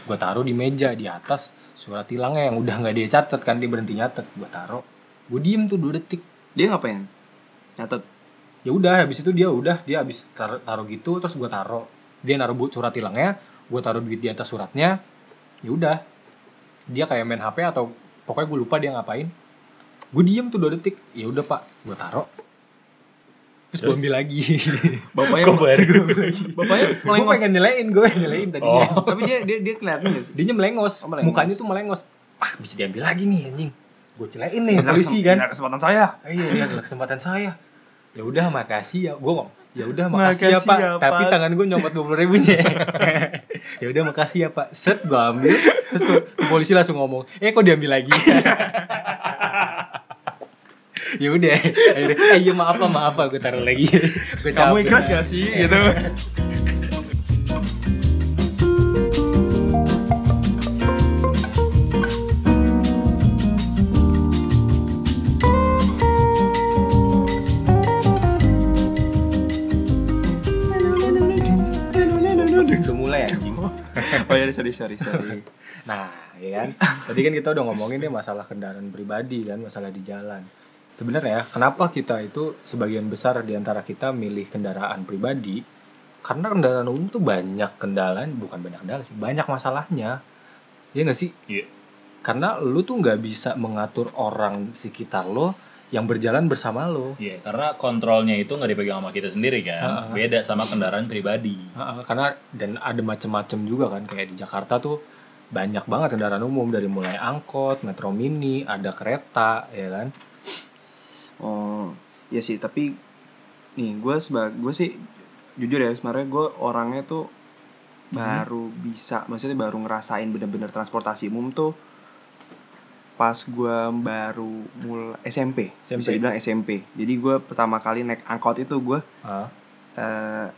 [SPEAKER 1] gue taruh di meja di atas surat hilangnya yang udah nggak dia catat kan dia berhenti nyatet gue taruh gue diem tuh dua detik
[SPEAKER 3] dia ngapain nyatet
[SPEAKER 1] ya udah habis itu dia udah dia habis taruh, taruh gitu terus gue taruh dia naruh bu- surat hilangnya gue taruh duit di atas suratnya ya udah dia kayak main hp atau pokoknya gue lupa dia ngapain gue diem tuh dua detik ya udah pak gue taruh terus, gue
[SPEAKER 2] Terus?
[SPEAKER 1] ambil
[SPEAKER 3] (laughs)
[SPEAKER 1] lagi Eh,
[SPEAKER 3] bapaknya
[SPEAKER 2] Kok baru?
[SPEAKER 3] bapaknya
[SPEAKER 1] gue
[SPEAKER 3] melengos.
[SPEAKER 1] pengen nyelain gue nyelain tadinya
[SPEAKER 2] Oh.
[SPEAKER 3] (laughs) tapi dia dia dia kelihatan nggak sih
[SPEAKER 1] dia melengos
[SPEAKER 3] Oh, melengos.
[SPEAKER 1] mukanya tuh melengos ah bisa diambil lagi nih anjing gue celain nih
[SPEAKER 3] (laughs)
[SPEAKER 1] polisi kan
[SPEAKER 3] Ini kesempatan saya
[SPEAKER 1] Ah, iya iya adalah kesempatan saya ya udah makasih ya gue ngomong ya udah makasih, ya
[SPEAKER 2] Makasih
[SPEAKER 1] pak
[SPEAKER 2] ya,
[SPEAKER 1] tapi
[SPEAKER 2] Pak.
[SPEAKER 1] tangan gue nyomot dua puluh ribunya (laughs) ya udah makasih ya pak set gue ambil terus gua- polisi langsung ngomong eh kok diambil lagi (laughs) ya udah akhirnya eh, iya maaf pak maaf pak gue taruh lagi gue
[SPEAKER 3] kamu ikhlas gak (laughs) sih gitu
[SPEAKER 1] udah mulai anjing
[SPEAKER 3] oh ya sorry sorry sorry
[SPEAKER 1] Nah, ya kan. Tadi kan kita udah ngomongin nih masalah kendaraan pribadi kan, masalah di jalan. Sebenarnya ya, kenapa kita itu sebagian besar di antara kita milih kendaraan pribadi? Karena kendaraan umum tuh banyak kendala, bukan banyak kendala sih, banyak masalahnya. Iya nggak sih?
[SPEAKER 2] Iya.
[SPEAKER 1] Karena lu tuh nggak bisa mengatur orang sekitar lo yang berjalan bersama lo.
[SPEAKER 2] Iya, karena kontrolnya itu nggak dipegang sama kita sendiri
[SPEAKER 1] Ah, ah.
[SPEAKER 2] kan. Beda sama kendaraan pribadi.
[SPEAKER 1] Heeh, karena dan ada macem-macem juga kan kayak di Jakarta tuh banyak banget kendaraan umum dari mulai angkot, metro mini, ada kereta, ya kan?
[SPEAKER 3] oh ya sih tapi nih gue sebagai gue sih jujur ya sebenarnya gue orangnya tuh
[SPEAKER 1] Mhm.
[SPEAKER 3] baru bisa maksudnya baru ngerasain bener-bener transportasi umum tuh pas gue baru mulai SMP, bisa
[SPEAKER 1] SMP.
[SPEAKER 3] dibilang SMP jadi gue pertama kali naik angkot itu gue
[SPEAKER 1] Ah.
[SPEAKER 3] eh,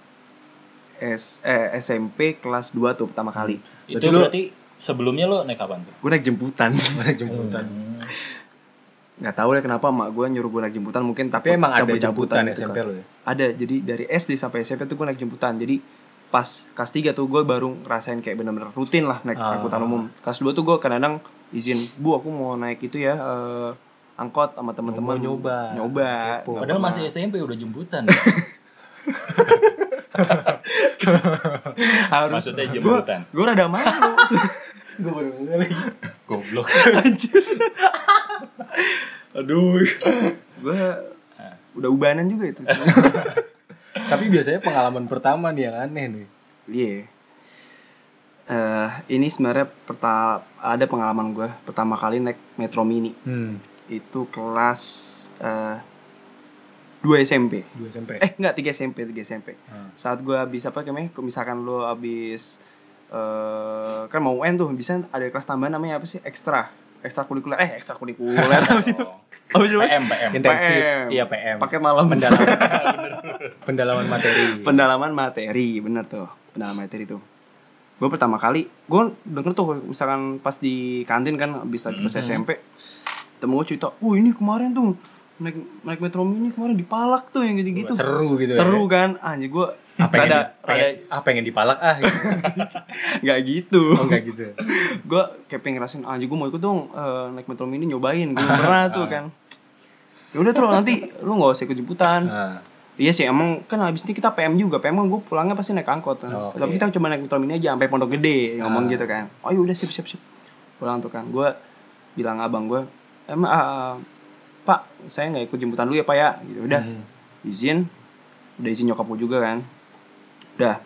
[SPEAKER 3] S- eh, SMP kelas 2 tuh pertama kali
[SPEAKER 2] Itu
[SPEAKER 1] Berarti lo-
[SPEAKER 2] berarti sebelumnya lo naik kapan tuh?
[SPEAKER 3] gue naik jemputan
[SPEAKER 1] Mana jemputan.
[SPEAKER 2] Hmm.
[SPEAKER 3] nggak tahu deh kenapa emak gue nyuruh gue naik jemputan mungkin
[SPEAKER 1] Tapi
[SPEAKER 3] takut
[SPEAKER 1] emang ada
[SPEAKER 3] cabut-cabutan
[SPEAKER 1] jemputan
[SPEAKER 3] gitu kan.
[SPEAKER 1] SMP lo ya?
[SPEAKER 3] ada jadi dari SD sampai SMP tuh gue naik jemputan jadi pas kelas 3 tuh gue baru ngerasain kayak bener-bener rutin lah naik
[SPEAKER 1] Ah.
[SPEAKER 3] angkutan umum kelas 2 tuh gue kadang-kadang izin bu aku mau naik itu ya eh, angkot sama teman-teman
[SPEAKER 1] Mau nyoba.
[SPEAKER 3] nyoba
[SPEAKER 1] Kepo.
[SPEAKER 3] nggak
[SPEAKER 2] Padahal
[SPEAKER 3] pernah.
[SPEAKER 2] masih SMP udah
[SPEAKER 1] (laughs)
[SPEAKER 2] jemputan.
[SPEAKER 3] harus
[SPEAKER 2] Maksudnya jemputan.
[SPEAKER 3] gue rada
[SPEAKER 1] (laughs)
[SPEAKER 3] malu
[SPEAKER 1] Gue baru lagi. (laughs)
[SPEAKER 2] Goblok.
[SPEAKER 3] aduh gue
[SPEAKER 1] Ah.
[SPEAKER 3] udah ubanan juga
[SPEAKER 1] (laughs)
[SPEAKER 3] itu
[SPEAKER 1] Tapi biasanya pengalaman pertama nih yang aneh nih.
[SPEAKER 3] iya Eh, ini sebenarnya perta- ada pengalaman gue pertama kali naik metro mini
[SPEAKER 1] Hmm,
[SPEAKER 3] itu kelas eh 2 SMP.
[SPEAKER 1] dua SMP.
[SPEAKER 3] (laughs) Eh enggak 3 SMP, 3 SMP.
[SPEAKER 1] Hmm.
[SPEAKER 3] Saat gua habis apa namanya? kalau Misalkan lu habis eh kan mau UN tuh, bisa ada kelas tambahan namanya apa sih? Ekstra. Ekstrakurikuler. Eh,
[SPEAKER 1] (laughs)
[SPEAKER 3] ekstrakurikuler. Habis itu-
[SPEAKER 2] Oh.
[SPEAKER 3] habis itu
[SPEAKER 2] (laughs) PM, PM.
[SPEAKER 1] Intensif.
[SPEAKER 3] PM.
[SPEAKER 1] Iya PM.
[SPEAKER 3] paket malam
[SPEAKER 1] Pendalaman.
[SPEAKER 3] (laughs)
[SPEAKER 1] Pendalaman materi.
[SPEAKER 3] pendalaman materi, bener tuh. Pendalaman materi tuh. Gue pertama kali, gue denger tuh
[SPEAKER 1] Hmm,
[SPEAKER 3] misalkan pas di kantin kan, abis lagi pas
[SPEAKER 2] Mhm.
[SPEAKER 3] SMP, temu gue cerita, wah ini kemarin tuh naik naik metro mini kemarin dipalak tuh yang gitu-gitu.
[SPEAKER 1] seru gitu ya.
[SPEAKER 3] Seru kan? Anjir gue
[SPEAKER 1] ah, pengen,
[SPEAKER 3] Rada-
[SPEAKER 1] pengen, ah pengen dipalak ah
[SPEAKER 3] (laughs)
[SPEAKER 1] gitu.
[SPEAKER 3] nggak gitu.
[SPEAKER 1] oh enggak gitu
[SPEAKER 3] gue kayak pengen ngerasain anjir gue mau ikut dong eh, naik metro mini nyobain gue pernah tuh kan ya udah tuh nanti lu nggak usah ikut jemputan
[SPEAKER 1] Ah,
[SPEAKER 3] iya sih emang kan habis ini kita PM juga PM kan gue pulangnya pasti naik angkot kan.
[SPEAKER 1] Oh, Oke.
[SPEAKER 3] tapi kita cuma naik metro mini aja sampai pondok gede
[SPEAKER 1] Ah.
[SPEAKER 3] ngomong gitu kan oh ya udah sip sip sip pulang tuh kan gue bilang abang gue emang ah, pak saya nggak ikut jemputan dulu ya pak ya gitu udah
[SPEAKER 1] Hmm.
[SPEAKER 3] izin udah izin nyokap gue juga kan udah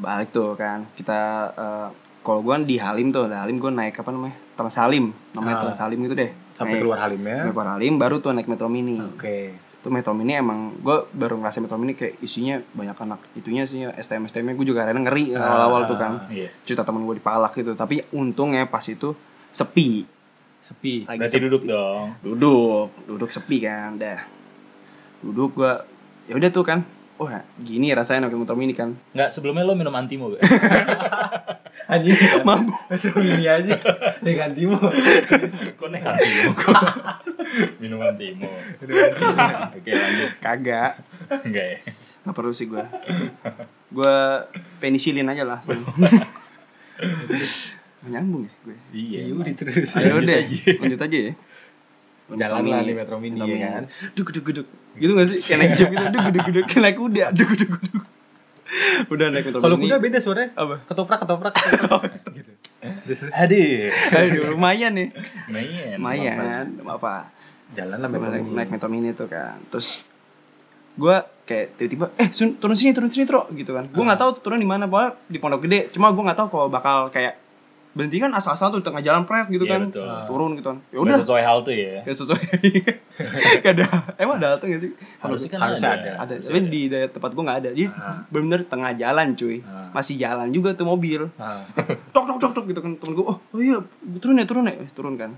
[SPEAKER 3] balik tuh kan kita eh, kalau gue di Halim tuh di Halim gue naik apa namanya Trans Halim namanya
[SPEAKER 1] Ah.
[SPEAKER 3] Trans Halim gitu deh
[SPEAKER 1] sampai
[SPEAKER 3] Naik-
[SPEAKER 1] keluar halimnya
[SPEAKER 3] naik keluar Halim baru tuh naik Metro Mini
[SPEAKER 1] Ah, oke
[SPEAKER 3] tuh Metro Mini emang gue baru ngerasain Metro Mini kayak isinya banyak anak itunya sih STM STM nya gue juga karena ngeri
[SPEAKER 1] Ah.
[SPEAKER 3] awal-awal tuh kan
[SPEAKER 2] Iya.
[SPEAKER 3] cerita temen gue dipalak gitu tapi untungnya pas itu sepi
[SPEAKER 1] sepi
[SPEAKER 3] Lagi
[SPEAKER 2] Berarti
[SPEAKER 3] sepi.
[SPEAKER 2] duduk dong.
[SPEAKER 3] duduk duduk sepi kan dah duduk gua ya udah tuh kan oh gini rasanya naik motor mini kan
[SPEAKER 2] Enggak, sebelumnya lo minum
[SPEAKER 1] (laughs)
[SPEAKER 2] antimo gak?
[SPEAKER 1] anjing
[SPEAKER 3] mampu
[SPEAKER 1] Suruh ini aja ya gantimu
[SPEAKER 2] Kok naik
[SPEAKER 1] (laughs)
[SPEAKER 2] antimo? minum antimo. Oke, lanjut.
[SPEAKER 3] kagak
[SPEAKER 2] Enggak ya.
[SPEAKER 3] nggak perlu sih gua gua penisilin aja lah menyambung ya gue
[SPEAKER 2] Iya.
[SPEAKER 1] iya udah terus
[SPEAKER 3] ayo
[SPEAKER 2] Lanjut
[SPEAKER 3] deh
[SPEAKER 2] aja.
[SPEAKER 3] lanjut aja ya
[SPEAKER 1] jalan lah di metro mini
[SPEAKER 3] Metro
[SPEAKER 1] ya
[SPEAKER 3] Mini.
[SPEAKER 1] kan
[SPEAKER 3] duk duk duk gitu gak sih kayak naik jeep gitu duk duk duk kayak naik kuda duk duk duk udah naik motor
[SPEAKER 1] kalau
[SPEAKER 3] mini. (laughs)
[SPEAKER 1] kuda beda suaranya
[SPEAKER 3] apa
[SPEAKER 1] ketoprak ketoprak ketoprak gitu terus terus.
[SPEAKER 2] Hadir.
[SPEAKER 3] aduh lumayan nih
[SPEAKER 2] Lumayan.
[SPEAKER 3] lumayan apa
[SPEAKER 1] jalan lah metro
[SPEAKER 3] naik,
[SPEAKER 1] mini
[SPEAKER 3] naik metro mini tuh kan terus gue kayak tiba-tiba eh Sun, turun sini turun sini tro gitu kan gue nggak
[SPEAKER 1] Ah.
[SPEAKER 3] tahu turun di mana bahwa di pondok gede cuma gue nggak tahu kalau bakal kayak berhenti kan asal-asal tuh di tengah jalan pres gitu
[SPEAKER 2] Iya,
[SPEAKER 3] kan
[SPEAKER 2] betul.
[SPEAKER 3] turun gitu kan ya
[SPEAKER 2] Udah
[SPEAKER 3] udah
[SPEAKER 2] sesuai halte ya.
[SPEAKER 3] gak sesuai (laughs) gak ada emang ada halte gak sih
[SPEAKER 2] Harusnya kan
[SPEAKER 1] Harusnya
[SPEAKER 2] ada.
[SPEAKER 1] ada. ya.
[SPEAKER 3] ada Nah. tapi di daerah tempat gue nggak ada jadi
[SPEAKER 1] Ah.
[SPEAKER 3] bener-bener tengah jalan cuy
[SPEAKER 1] Ah.
[SPEAKER 3] masih jalan juga tuh mobil
[SPEAKER 1] Ah.
[SPEAKER 3] (laughs) tok tok tok tok gitu kan temen gue oh, oh iya turun ya turun ya Eh, turun
[SPEAKER 1] (laughs)
[SPEAKER 3] kan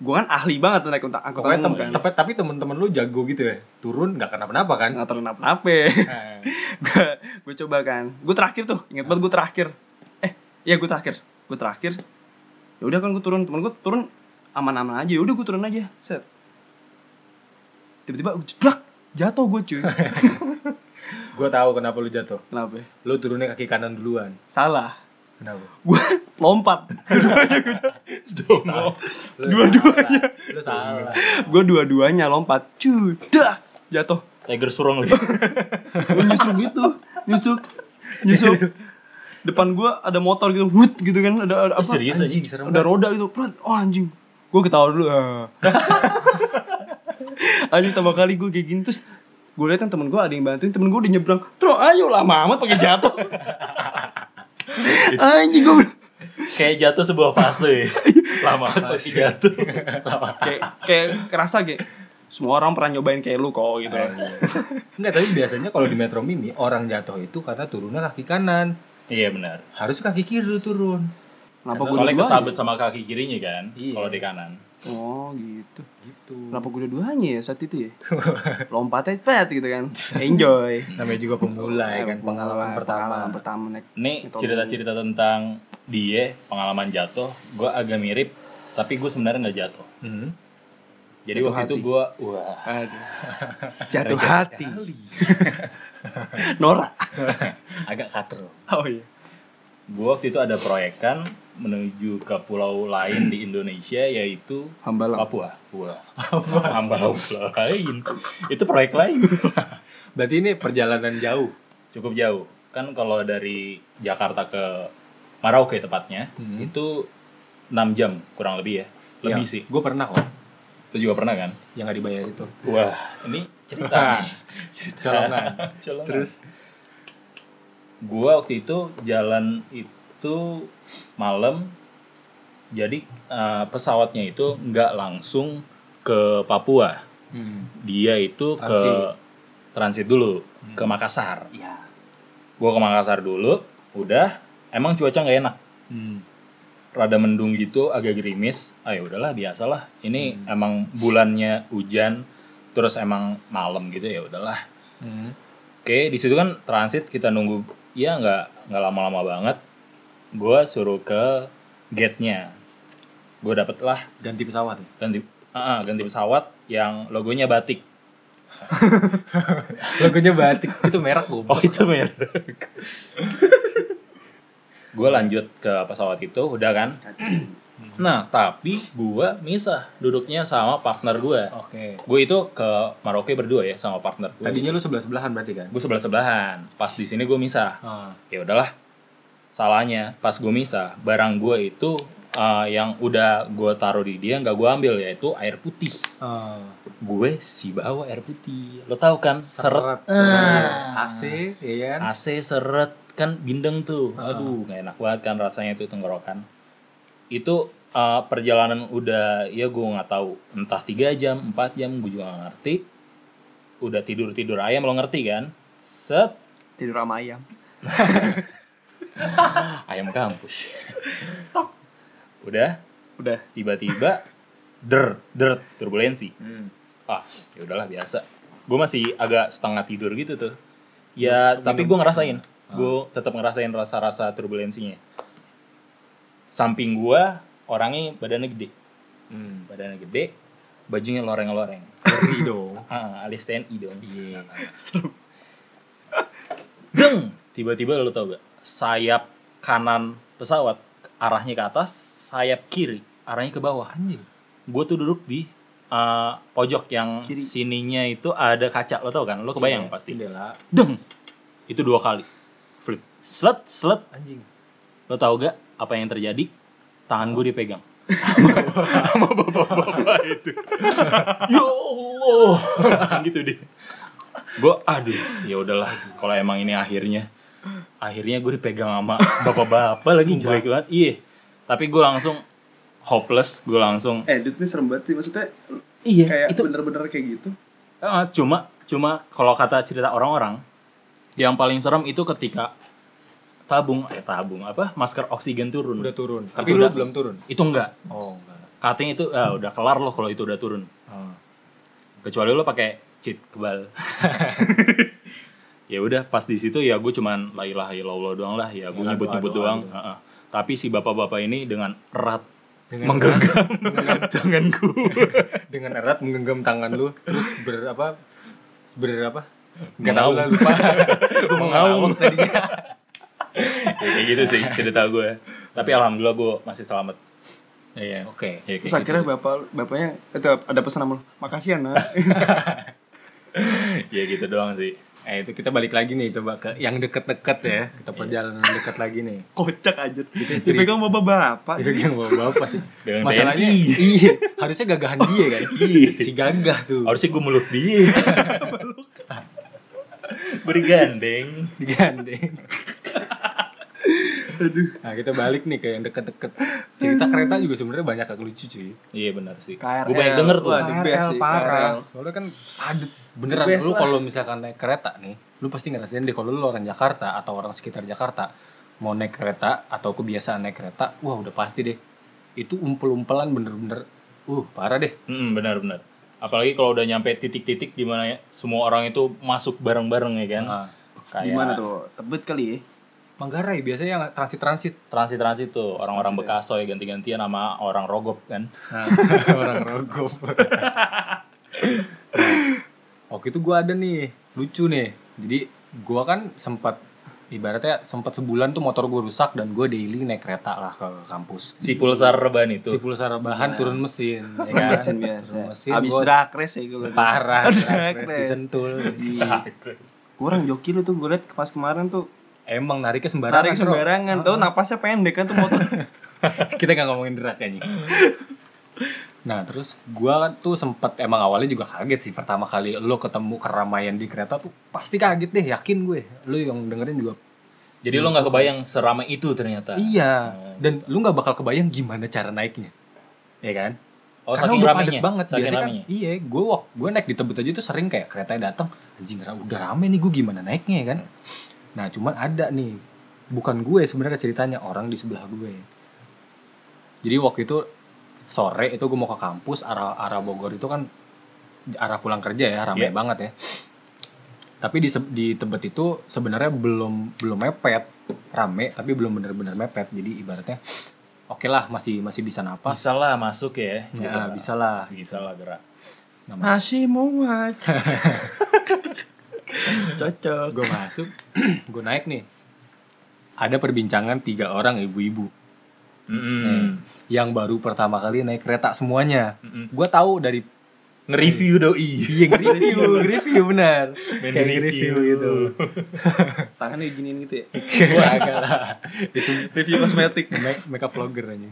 [SPEAKER 3] gue kan ahli banget tuh naik angkot
[SPEAKER 1] Pokoknya
[SPEAKER 3] umum kan.
[SPEAKER 1] tem tapi, tapi temen-temen lu jago gitu ya turun nggak kenapa-napa kan (laughs)
[SPEAKER 3] nggak apa (laughs) gue gue coba kan gue terakhir tuh inget banget gue terakhir eh iya gue terakhir gue terakhir ya udah kan gue turun temen gue turun aman-aman aja Ya udah gue turun aja set tiba-tiba gue jebrak jatuh gue cuy
[SPEAKER 1] gue tahu kenapa lu jatuh
[SPEAKER 3] kenapa
[SPEAKER 1] lu turunnya kaki kanan duluan
[SPEAKER 3] salah
[SPEAKER 1] kenapa
[SPEAKER 3] gue (laughs) lompat
[SPEAKER 2] Domo.
[SPEAKER 1] Lu
[SPEAKER 3] Dua-duanya.
[SPEAKER 1] salah. lu salah
[SPEAKER 3] gue dua-duanya lompat cuy dah jatuh
[SPEAKER 2] Tiger surong lagi.
[SPEAKER 3] gue nyusuk gitu nyusuk nyusuk depan gue ada motor gitu hut gitu kan ada, ada
[SPEAKER 2] Eh,
[SPEAKER 3] (laughs) apa
[SPEAKER 2] Serius aja.
[SPEAKER 1] anjing serem
[SPEAKER 3] ada roda gitu Prat, oh anjing gue ketawa dulu ah. anjing tambah kali gue kayak gini terus gue liat kan temen gue ada yang bantuin temen gue udah nyebrang tro ayo lah mamat pakai jatuh anjing gue
[SPEAKER 2] Kayak jatuh sebuah fase.
[SPEAKER 3] (laughs)
[SPEAKER 2] ya. Lama pasti jatuh.
[SPEAKER 3] kayak kayak kerasa kayak semua orang pernah nyobain kayak lu kok gitu
[SPEAKER 1] Iya. (laughs) Enggak, tapi biasanya kalau di Metro Mini orang jatuh itu karena turunnya kaki kanan.
[SPEAKER 2] Iya benar.
[SPEAKER 1] Harus kaki kiri dulu turun.
[SPEAKER 3] kenapa
[SPEAKER 1] Karena
[SPEAKER 3] gue
[SPEAKER 2] Soalnya
[SPEAKER 3] dua-duanya
[SPEAKER 2] kesabet sama kaki kirinya kan.
[SPEAKER 1] Iya.
[SPEAKER 2] Kalau di kanan.
[SPEAKER 3] oh gitu
[SPEAKER 1] Gitu.
[SPEAKER 3] kenapa gue dua-duanya ya saat itu ya lompatnya pet gitu kan enjoy
[SPEAKER 1] Namanya juga pemula ya kan, pengalaman pertama.
[SPEAKER 3] Pengalaman pertama naik
[SPEAKER 2] Ini
[SPEAKER 3] Metro
[SPEAKER 2] cerita-cerita tentang dia pengalaman jatuh. Gue agak mirip. Tapi gue sebenarnya nggak jatuh.
[SPEAKER 1] Hmm.
[SPEAKER 2] Jadi
[SPEAKER 3] Jatuh
[SPEAKER 2] waktu itu
[SPEAKER 3] hati.
[SPEAKER 2] gue wah
[SPEAKER 3] Aduh. jatuh hati Nora
[SPEAKER 2] agak katro.
[SPEAKER 3] (laughs) oh iya
[SPEAKER 2] Gue waktu itu ada proyekan menuju ke pulau lain di Indonesia yaitu
[SPEAKER 3] hambalang
[SPEAKER 2] Papua. Papua. Ambarawa pulau lain. Itu proyek lain.
[SPEAKER 1] Berarti ini perjalanan jauh.
[SPEAKER 2] Cukup jauh. Kan kalau dari Jakarta ke Merauke tepatnya
[SPEAKER 1] Hmm. Iya.
[SPEAKER 2] itu 6 jam kurang lebih ya. Lebih sih.
[SPEAKER 1] Gue pernah kok
[SPEAKER 2] Itu juga pernah kan?
[SPEAKER 1] yang gak dibayar itu.
[SPEAKER 2] Wah, ini
[SPEAKER 1] Iya.
[SPEAKER 2] cerita nih.
[SPEAKER 1] Ah, (laughs) Colongan.
[SPEAKER 2] (laughs) Colongan. Terus
[SPEAKER 1] Terus
[SPEAKER 2] gua waktu itu jalan itu malam jadi eh, pesawatnya itu nggak langsung ke Papua.
[SPEAKER 1] Hmm.
[SPEAKER 2] Dia itu ke
[SPEAKER 1] Transit.
[SPEAKER 2] transit dulu ke
[SPEAKER 1] Hmm.
[SPEAKER 2] Makassar.
[SPEAKER 1] Iya.
[SPEAKER 2] Gue ke Makassar dulu, udah. Emang cuaca nggak enak,
[SPEAKER 1] Hmm.
[SPEAKER 2] rada mendung gitu, agak gerimis. Ah ya udahlah, biasalah. Ini
[SPEAKER 1] Hmm.
[SPEAKER 2] emang bulannya hujan, terus emang malam gitu ya udahlah.
[SPEAKER 1] Hmm.
[SPEAKER 2] Oke, di situ kan transit kita nunggu, ya nggak nggak lama-lama banget. Gue suruh ke gate-nya. Gue dapet lah
[SPEAKER 1] Ganti pesawat ya.
[SPEAKER 2] ganti Ah, ah, ganti pesawat yang logonya batik.
[SPEAKER 1] Logonya batik (laughs) Oh, itu merek goblok.
[SPEAKER 2] itu merek. gue lanjut ke pesawat itu, udah kan? (clears throat) Nah, tapi gue misah duduknya sama partner gue.
[SPEAKER 1] Oke.
[SPEAKER 2] Gue itu ke Maroke berdua ya sama partner gue.
[SPEAKER 1] Tadinya lu sebelah sebelahan berarti kan?
[SPEAKER 2] gue sebelah sebelahan. Pas di sini gue misah.
[SPEAKER 1] Ah,
[SPEAKER 2] Ya udahlah. Salahnya pas gue misah, barang gue itu eh, yang udah gue taruh di dia nggak gue ambil yaitu air putih.
[SPEAKER 1] ah.
[SPEAKER 2] Gue si bawa air putih. Lo tau kan seret
[SPEAKER 1] seret.
[SPEAKER 2] Ah.
[SPEAKER 1] AC, ya kan?
[SPEAKER 2] AC seret kan bindeng tuh.
[SPEAKER 1] Ah.
[SPEAKER 2] Aduh, nggak enak banget kan rasanya itu tenggorokan. Itu uh, perjalanan udah ya gue nggak tahu entah tiga jam, 4 jam gue juga nggak ngerti. Udah tidur tidur ayam lo ngerti kan? Set
[SPEAKER 3] Tidur sama ayam.
[SPEAKER 2] ayam kampus. udah,
[SPEAKER 3] Udah.
[SPEAKER 2] tiba-tiba der der turbulensi.
[SPEAKER 1] Hmm.
[SPEAKER 2] Ah, ya udahlah biasa. Gue masih agak setengah tidur gitu tuh.
[SPEAKER 1] Minum-
[SPEAKER 2] Ya, tapi
[SPEAKER 1] minum.
[SPEAKER 2] gue ngerasain.
[SPEAKER 1] Ah.
[SPEAKER 2] gue tetap ngerasain rasa-rasa turbulensinya. Samping gua orangnya badannya gede,
[SPEAKER 1] Hmm.
[SPEAKER 2] badannya gede, bajunya loreng-loreng.
[SPEAKER 1] Ngeri dong.
[SPEAKER 2] Ah, alis TNI dong. (laughs)
[SPEAKER 1] Iya.
[SPEAKER 2] Deng! Tiba-tiba lo tau gak? Sayap kanan pesawat arahnya ke atas, sayap kiri arahnya ke bawah.
[SPEAKER 1] Anjing.
[SPEAKER 2] Gue tuh duduk di eh, pojok yang
[SPEAKER 3] Kiri.
[SPEAKER 2] sininya itu ada kaca, lo tau kan? Lo kebayang
[SPEAKER 1] Iya,
[SPEAKER 2] pasti.
[SPEAKER 1] Jendela.
[SPEAKER 2] Deng! Itu dua kali. Flip. Slet, slet.
[SPEAKER 1] Anjing.
[SPEAKER 2] Lo tau gak apa yang terjadi? Tangan gue dipegang. Sama bapak-bapak itu. ya Allah. Langsung gitu deh. Gue aduh, ya udahlah. Kalau emang ini akhirnya, akhirnya gue dipegang sama bapak-bapak lagi
[SPEAKER 1] Sumpah.
[SPEAKER 2] jelek banget. Iya. Tapi gue langsung hopeless, gue langsung.
[SPEAKER 3] Eh, dude ini serem banget sih. Maksudnya
[SPEAKER 2] Iya.
[SPEAKER 3] kayak
[SPEAKER 2] Itu
[SPEAKER 3] bener-bener kayak gitu.
[SPEAKER 2] Eh, cuma cuma kalau kata cerita orang-orang yang paling serem itu ketika tabung eh tabung apa masker oksigen turun
[SPEAKER 1] Udah turun. Tapi
[SPEAKER 2] Itu
[SPEAKER 1] lu
[SPEAKER 2] udah.
[SPEAKER 1] belum turun.
[SPEAKER 2] itu enggak
[SPEAKER 1] Oh, enggak.
[SPEAKER 2] Katanya itu ah, udah kelar loh kalau itu udah turun.
[SPEAKER 1] Ah.
[SPEAKER 2] Kecuali lo pakai cheat
[SPEAKER 3] (laughs)
[SPEAKER 2] kebal. ya udah pas di situ ya gue cuman la ilaha illallah doang lah ya gue
[SPEAKER 1] Ya,
[SPEAKER 2] nyebut-nyebut
[SPEAKER 1] doa-doa
[SPEAKER 2] doang.
[SPEAKER 1] gitu.
[SPEAKER 2] Heeh. Tapi si bapak-bapak ini dengan erat
[SPEAKER 1] Dengan
[SPEAKER 2] menggenggam
[SPEAKER 1] dengan,
[SPEAKER 2] tangan gue.
[SPEAKER 1] (laughs) dengan erat menggenggam tangan lu terus berapa berapa nggak tahu
[SPEAKER 2] Mengaung.
[SPEAKER 1] lah lupa
[SPEAKER 2] Mengaung.
[SPEAKER 1] tadinya
[SPEAKER 2] ya, kayak gitu sih cerita gue. Tapi alhamdulillah gue masih selamat. Iya.
[SPEAKER 1] oke
[SPEAKER 2] Ya, kayak
[SPEAKER 3] Terus
[SPEAKER 2] gitu.
[SPEAKER 3] akhirnya bapak bapaknya itu ada pesan sama lu. Makasih ya, (laughs) Nak.
[SPEAKER 2] ya gitu doang sih.
[SPEAKER 1] eh itu kita balik lagi nih coba ke yang deket-deket ya kita perjalanan deket lagi nih
[SPEAKER 3] Kocak aja.
[SPEAKER 1] Itu
[SPEAKER 3] Dipegang sama bapak.
[SPEAKER 1] Itu yang bawa bapak sih
[SPEAKER 2] Dengan
[SPEAKER 1] masalahnya
[SPEAKER 2] TNI.
[SPEAKER 1] (laughs) iya harusnya gagahan dia kan si gagah tuh
[SPEAKER 2] harusnya gue meluk
[SPEAKER 3] (laughs)
[SPEAKER 2] dia. Beri gandeng.
[SPEAKER 1] digandeng (laughs) aduh nah kita balik nih ke yang deket-deket cerita kereta juga sebenarnya banyak yang lucu cuy
[SPEAKER 2] Iya benar sih.
[SPEAKER 3] KRL.
[SPEAKER 2] Gue banyak denger tuh.
[SPEAKER 3] Wah, the best sih,
[SPEAKER 1] parah.
[SPEAKER 3] KRL.
[SPEAKER 1] Soalnya kan padet beneran.
[SPEAKER 3] The best
[SPEAKER 1] Lu
[SPEAKER 3] lah.
[SPEAKER 1] kalau misalkan naik kereta nih, lu pasti ngerasain deh kalau lu orang Jakarta atau orang sekitar Jakarta mau naik kereta atau kebiasaan naik kereta, wah udah pasti deh. Itu umpel-umpelan bener-bener uh parah deh.
[SPEAKER 2] Mm, benar benar. Apalagi kalau udah nyampe titik-titik di mana ya, semua orang itu masuk bareng-bareng ya kan.
[SPEAKER 3] Hmm.
[SPEAKER 1] Nah,
[SPEAKER 2] Kayak
[SPEAKER 3] Gimana tuh? Tebet kali ya.
[SPEAKER 1] Manggarai biasanya yang transit-transit
[SPEAKER 3] (laughs)
[SPEAKER 2] Transit-transit tuh orang-orang
[SPEAKER 3] Transit ya.
[SPEAKER 2] Bekaso ya ganti-gantian sama orang Rogop kan.
[SPEAKER 1] orang (laughs) rogop. Oke itu gua ada nih, lucu nih. Jadi gua kan sempat ibaratnya sempat sebulan tuh motor gua rusak dan gua daily naik kereta lah ke kampus.
[SPEAKER 2] Si pulsar reban
[SPEAKER 1] si
[SPEAKER 2] (laughs) itu.
[SPEAKER 1] pulsa rebahan
[SPEAKER 3] Nah.
[SPEAKER 1] turun mesin
[SPEAKER 3] (laughs)
[SPEAKER 1] ya kan?
[SPEAKER 3] Mesin biasa.
[SPEAKER 1] Turun mesin
[SPEAKER 3] Abis
[SPEAKER 1] gua
[SPEAKER 3] drag race ya gue. (laughs)
[SPEAKER 1] parah
[SPEAKER 3] Drag
[SPEAKER 1] drag race
[SPEAKER 3] race.
[SPEAKER 1] disentul
[SPEAKER 3] Iya.
[SPEAKER 2] Nah,
[SPEAKER 3] Kurang joki lu tuh gue liat pas kemarin tuh
[SPEAKER 1] emang nariknya sembarangan
[SPEAKER 3] tarik
[SPEAKER 1] Bro.
[SPEAKER 3] sembarangan tuh napasnya pendek kan tuh (laughs) motor.
[SPEAKER 1] kita nggak ngomongin drag anjing nah terus gua tuh sempet emang awalnya juga kaget sih pertama kali lo ketemu keramaian di kereta tuh pasti kaget deh yakin gue lo yang dengerin juga
[SPEAKER 2] Jadi lo nggak kebayang seramai itu ternyata. Nah,
[SPEAKER 1] iya dan lu nggak bakal kebayang gimana cara naiknya ya kan
[SPEAKER 2] Oh,
[SPEAKER 1] Karena
[SPEAKER 2] saking
[SPEAKER 1] udah
[SPEAKER 2] ramenya.
[SPEAKER 1] padat banget
[SPEAKER 2] saking
[SPEAKER 1] biasanya
[SPEAKER 2] ramenya.
[SPEAKER 1] kan iya gue wak gue naik di tebet aja tuh sering kayak keretanya datang anjing ra- udah rame nih gue gimana naiknya ya kan nah cuman ada nih bukan gue sebenarnya ceritanya orang di sebelah gue jadi waktu itu sore itu gue mau ke kampus arah arah Bogor itu kan arah pulang kerja ya ramai
[SPEAKER 2] Iya.
[SPEAKER 1] banget ya tapi di se- di tebet itu sebenarnya belum belum mepet rame tapi belum bener-bener mepet jadi ibaratnya oke lah masih masih bisa napas
[SPEAKER 2] bisa lah masuk ya
[SPEAKER 1] ya,
[SPEAKER 2] Gerak.
[SPEAKER 1] bisa lah
[SPEAKER 2] bisa lah gerak
[SPEAKER 1] Nah, mas-
[SPEAKER 3] Nasi (laughs) muat. Cocok.
[SPEAKER 1] gue masuk (clears throat) gue naik nih ada perbincangan tiga orang ibu-ibu Hmm. Iya.
[SPEAKER 2] Mm-mm.
[SPEAKER 1] yang baru pertama kali naik kereta semuanya
[SPEAKER 2] Mm-mm.
[SPEAKER 1] gue tahu dari
[SPEAKER 2] nge-review doi
[SPEAKER 1] iya
[SPEAKER 3] (laughs)
[SPEAKER 1] review review benar
[SPEAKER 2] (laughs) Main
[SPEAKER 1] Kayak review gitu.
[SPEAKER 3] Tangannya giniin gitu ya.
[SPEAKER 1] (laughs) gue agak lah itu
[SPEAKER 3] Review kosmetik.
[SPEAKER 1] make, makeup vlogger aja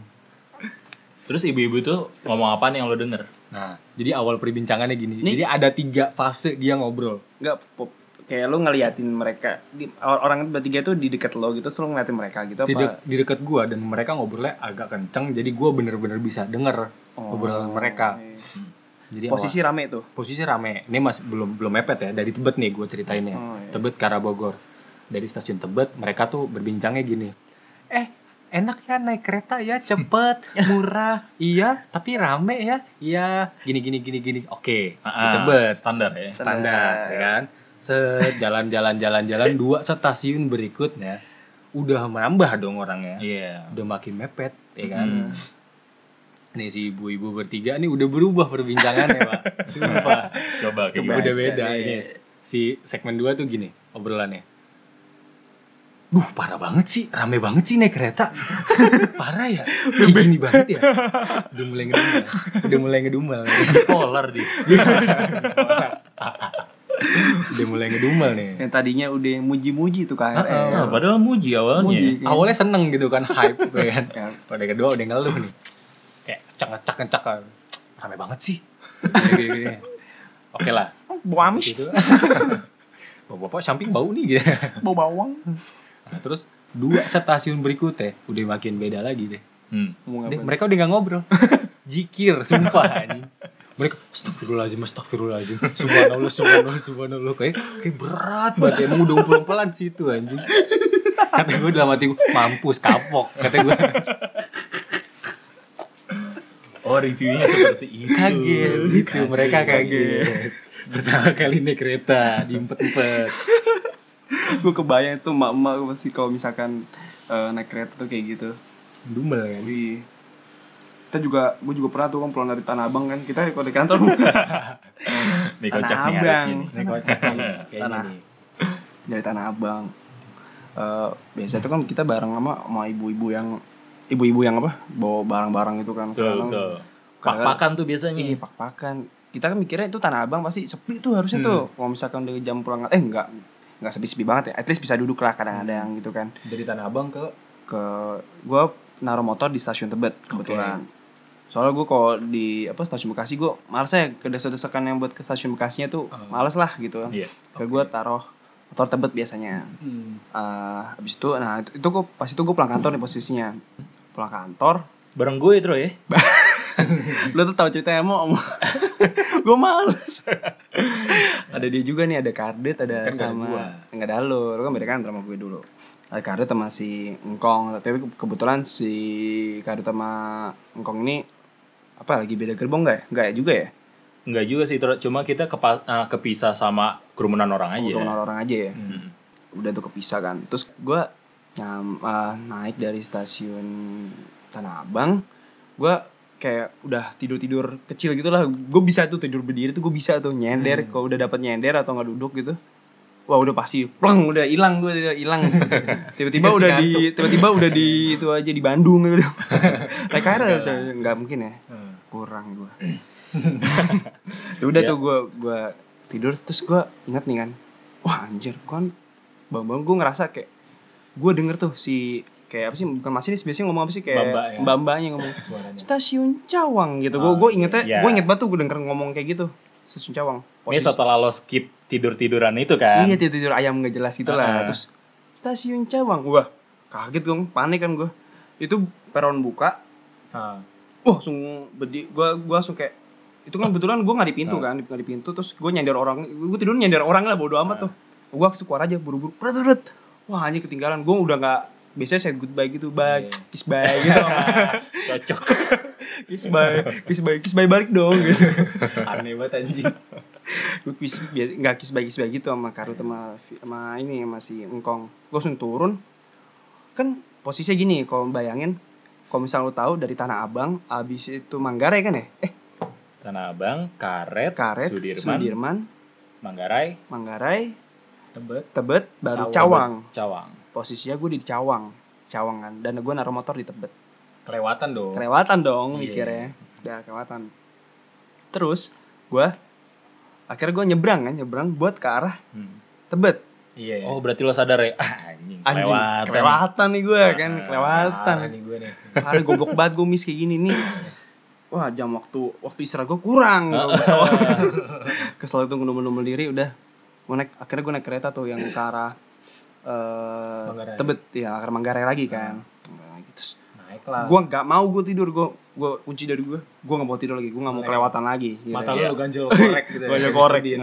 [SPEAKER 2] terus ibu-ibu tuh ngomong apa nih yang lo denger
[SPEAKER 1] nah jadi awal perbincangannya gini
[SPEAKER 3] Nih.
[SPEAKER 1] jadi ada tiga fase dia ngobrol
[SPEAKER 3] Enggak pop. Kayak lu ngeliatin mereka di, or- orang bertiga tuh di dekat lo gitu, terus lu ngeliatin mereka gitu
[SPEAKER 1] di,
[SPEAKER 3] apa?
[SPEAKER 1] dek- di dekat gue dan mereka ngobrolnya agak kenceng jadi gue bener-bener bisa denger
[SPEAKER 3] Oh,
[SPEAKER 1] obrolan mereka.
[SPEAKER 3] iya.
[SPEAKER 1] jadi
[SPEAKER 3] Posisi rame tuh.
[SPEAKER 1] awal- posisi rame ini mas belum belum mepet ya dari tebet nih gue ceritainnya
[SPEAKER 3] Oh, iya.
[SPEAKER 1] Tebet ke arah Bogor. Dari stasiun Tebet mereka tuh berbincangnya gini. Eh, enak ya naik kereta ya,
[SPEAKER 2] (laughs)
[SPEAKER 1] cepet, murah. iya, tapi rame ya. Iya, gini gini gini gini. Oke, di
[SPEAKER 2] Ah,
[SPEAKER 1] Tebet
[SPEAKER 2] standar ya
[SPEAKER 1] standar ya kan. Set jalan jalan jalan jalan dua stasiun berikutnya udah menambah dong orangnya.
[SPEAKER 2] iya
[SPEAKER 1] Udah makin mepet ya kan.
[SPEAKER 2] Mm.
[SPEAKER 1] Nih si ibu-ibu bertiga nih udah berubah perbincangannya,
[SPEAKER 2] (laughs)
[SPEAKER 1] Pak. Sumpah.
[SPEAKER 2] coba kayak
[SPEAKER 3] Coba.
[SPEAKER 2] gimana?
[SPEAKER 1] Udah beda
[SPEAKER 3] Baca
[SPEAKER 1] ini. Iya,
[SPEAKER 3] deh.
[SPEAKER 1] Si segmen 2 tuh gini obrolannya. Duh parah banget sih, rame banget sih naik kereta. (laughs) parah ya, kayak gini banget ya. Udah mulai ngedumel, udah mulai ya. ngedumel.
[SPEAKER 2] polar di
[SPEAKER 1] udah mulai ngedumel nih.
[SPEAKER 3] Yang tadinya udah muji-muji tuh kan, ya. KRL.
[SPEAKER 1] Heeh.
[SPEAKER 2] Ah, padahal muji awalnya
[SPEAKER 3] Muji.
[SPEAKER 1] Awalnya seneng gitu kan, hype ya kan.
[SPEAKER 3] Ya,
[SPEAKER 1] Pada kedua udah ngeluh nih. Kayak cak cak cak rame banget sih. Kayak gini-gini. Oke lah.
[SPEAKER 3] bau Oh, amis,
[SPEAKER 1] Gitu. (laughs) Bapak-bapak samping bau nih gitu.
[SPEAKER 3] bau bawang.
[SPEAKER 1] Nah, terus dua stasiun berikutnya udah makin beda lagi deh.
[SPEAKER 2] Hmm.
[SPEAKER 3] Ngomong
[SPEAKER 1] Deh,
[SPEAKER 3] apa?
[SPEAKER 1] mereka udah gak
[SPEAKER 3] (laughs)
[SPEAKER 1] ngobrol. Jikir, sumpah anjing. Mereka astagfirullahalazim, astagfirullahalazim. Subhanallah, subhanallah, subhanallah. Kayak kayak berat banget emang udah pelan-pelan situ anjing. Kata gue dalam hati gue, mampus, kapok. Kata gue,
[SPEAKER 2] oh reviewnya seperti itu
[SPEAKER 1] kaget gitu. Mereka
[SPEAKER 3] kaget. Iya.
[SPEAKER 1] kaget. Pertama kali naik kereta, diempet-empet.
[SPEAKER 3] gue kebayang tuh emak-emak pasti kalau misalkan eh, naik kereta tuh kayak gitu
[SPEAKER 1] Dumel kan.
[SPEAKER 3] Wih. kita juga gue juga pernah tuh kan pulang dari tanah abang kan kita kalau di kantor
[SPEAKER 2] nih
[SPEAKER 3] Tanah
[SPEAKER 2] kocak nih
[SPEAKER 3] Abang.
[SPEAKER 2] harusnya nih
[SPEAKER 1] Ini kocak nih, kayaknya
[SPEAKER 3] Tanah.
[SPEAKER 1] nih.
[SPEAKER 3] dari tanah abang Eh biasa tuh kan kita bareng sama sama ibu-ibu yang ibu-ibu yang apa bawa barang-barang itu kan
[SPEAKER 2] betul betul
[SPEAKER 3] kadang-
[SPEAKER 2] pak-pakan tuh biasanya
[SPEAKER 3] iya pak-pakan kita kan mikirnya itu tanah abang pasti sepi tuh harusnya tuh
[SPEAKER 2] Hmm.
[SPEAKER 3] kalau misalkan dari jam pulang eh enggak enggak sepi-sepi banget ya at least bisa duduk lah
[SPEAKER 2] Hmm.
[SPEAKER 3] kadang-kadang gitu kan
[SPEAKER 1] Dari Tanah Abang ke
[SPEAKER 3] ke gue naruh motor di stasiun Tebet kebetulan. Soalnya gue kalau di apa stasiun Bekasi gue males ya ke desakan yang buat ke stasiun Bekasinya tuh
[SPEAKER 1] Hmm.
[SPEAKER 3] males lah
[SPEAKER 2] Oh.
[SPEAKER 3] gitu.
[SPEAKER 2] Iya.
[SPEAKER 3] Ke gue taruh motor Tebet biasanya. Eh, habis itu nah itu, itu gua, pas itu gue pulang kantor nih posisinya. Pulang kantor,
[SPEAKER 2] bareng gue itu ya
[SPEAKER 3] lu tuh tahu ceritanya mau (laughs) gue males. ada dia juga nih ada Kardet, ada
[SPEAKER 1] Kan nggak ada gua.
[SPEAKER 3] sama enggak ada lo, lu kan beda kantor sama gue dulu. Ada Kardet sama si Engkong, tapi ke- kebetulan si Kardet sama Engkong ini apa lagi beda gerbong nggak ya? Nggak ya juga ya?
[SPEAKER 2] Enggak juga sih, Tro. cuma kita kepa- eh, kepisah sama kerumunan orang aja.
[SPEAKER 3] Untuk orang aja ya.
[SPEAKER 2] Mm.
[SPEAKER 3] Udah tuh kepisah kan. Terus gue nyam, eh, naik dari stasiun Tanah Abang, gue kayak udah tidur tidur kecil gitu lah gue bisa tuh tidur berdiri tuh gue bisa tuh nyender
[SPEAKER 1] Hmm.
[SPEAKER 3] kalau udah dapat nyender atau nggak duduk gitu wah udah pasti pleng udah hilang gue udah hilang
[SPEAKER 1] (laughs)
[SPEAKER 3] tiba-tiba
[SPEAKER 1] Dikasih
[SPEAKER 3] udah di
[SPEAKER 1] ngantuk.
[SPEAKER 3] tiba-tiba udah di itu aja di Bandung gitu
[SPEAKER 1] (laughs)
[SPEAKER 3] naik KRL
[SPEAKER 1] Enggak
[SPEAKER 3] coy. nggak mungkin ya
[SPEAKER 1] Hmm.
[SPEAKER 3] kurang
[SPEAKER 1] (laughs)
[SPEAKER 3] gue ya udah
[SPEAKER 2] Ya.
[SPEAKER 3] tuh gue gue tidur terus gue ingat nih kan wah anjir kan bang-bang gue ngerasa kayak gue denger tuh si kayak apa sih bukan masinis biasanya ngomong apa sih kayak
[SPEAKER 1] Bamba ya.
[SPEAKER 3] mbak-mbaknya ngomong
[SPEAKER 1] suaranya.
[SPEAKER 3] stasiun Cawang gitu gue
[SPEAKER 1] Ah,
[SPEAKER 3] gue ingetnya
[SPEAKER 2] iya.
[SPEAKER 3] gue inget banget tuh gue denger ngomong kayak gitu stasiun Cawang
[SPEAKER 2] Ini setelah lo skip tidur-tiduran itu kan.
[SPEAKER 3] iya tidur tidur ayam nggak jelas gitu
[SPEAKER 2] Ah, ah.
[SPEAKER 3] lah terus stasiun Cawang wah kaget dong panik kan gue itu peron buka
[SPEAKER 1] Ah,
[SPEAKER 3] Wah, langsung bedi gua gua langsung kayak itu kan kebetulan gua nggak di pintu
[SPEAKER 1] Ah.
[SPEAKER 3] kan, nggak di pintu terus gua nyender orang, gua tidur nyender orang lah bodo amat
[SPEAKER 2] Ah.
[SPEAKER 3] tuh. Gua langsung keluar aja buru-buru. Prut, prut. Wah, anjing ketinggalan. Gua udah nggak biasanya saya goodbye gitu, bye,
[SPEAKER 1] Iya.
[SPEAKER 3] kiss bye
[SPEAKER 2] (laughs)
[SPEAKER 3] gitu.
[SPEAKER 1] (laughs)
[SPEAKER 2] Cocok.
[SPEAKER 3] kiss bye, kiss bye, kiss bye balik dong gitu.
[SPEAKER 1] (laughs) Aneh banget anjing.
[SPEAKER 3] Gua kiss biar nggak kiss bye kiss bye gitu sama Karut sama Vi- sama ini sama si Engkong. Gua langsung turun. Kan posisinya gini, kalau bayangin kalau misalnya lu tahu dari Tanah Abang abis itu Manggarai kan ya eh
[SPEAKER 2] Tanah Abang, Karet,
[SPEAKER 3] Karet
[SPEAKER 2] Sudirman,
[SPEAKER 3] Sudirman
[SPEAKER 2] Manggarai,
[SPEAKER 3] Manggarai
[SPEAKER 1] Tebet.
[SPEAKER 3] Tebet
[SPEAKER 1] Cawang.
[SPEAKER 3] baru Cawang
[SPEAKER 2] Cawang.
[SPEAKER 3] posisinya gue di Cawang Cawangan dan gue naruh motor di Tebet
[SPEAKER 1] Kelewatan
[SPEAKER 2] Oh.
[SPEAKER 1] dong.
[SPEAKER 3] kelewatan dong
[SPEAKER 1] Iya.
[SPEAKER 3] mikirnya udah kelewatan terus gue akhirnya gue nyebrang kan nyebrang buat ke arah
[SPEAKER 2] Hmm.
[SPEAKER 3] Tebet
[SPEAKER 1] Iya.
[SPEAKER 2] Oh berarti lo sadar ya? Ah, anjing,
[SPEAKER 3] anjing
[SPEAKER 2] kelewatan.
[SPEAKER 3] kelewatan nih gue kan
[SPEAKER 2] Ah,
[SPEAKER 3] kelewatan
[SPEAKER 1] Parah nih gue nih.
[SPEAKER 3] Hari goblok banget gue miss kayak gini nih. Wah jam waktu waktu istirahat gue kurang. Gua Kesel, (laughs) kesel itu ngedumel-dumel diri udah. Gua naik, akhirnya gue naik kereta tuh yang ke arah eh,
[SPEAKER 1] Manggarai.
[SPEAKER 3] Tebet ya arah Manggarai lagi kan. Manggarai lagi. Terus
[SPEAKER 1] Naik lah.
[SPEAKER 3] gue nggak mau gue tidur gue gue kunci dari gue. Gue nggak mau tidur lagi. Gue nggak mau
[SPEAKER 1] Lek.
[SPEAKER 3] kelewatan lagi. gitu
[SPEAKER 1] Mata
[SPEAKER 3] ya.
[SPEAKER 1] lu lu ganjel
[SPEAKER 3] (laughs)
[SPEAKER 1] korek gitu. ya.
[SPEAKER 3] Gue aja korek. (laughs)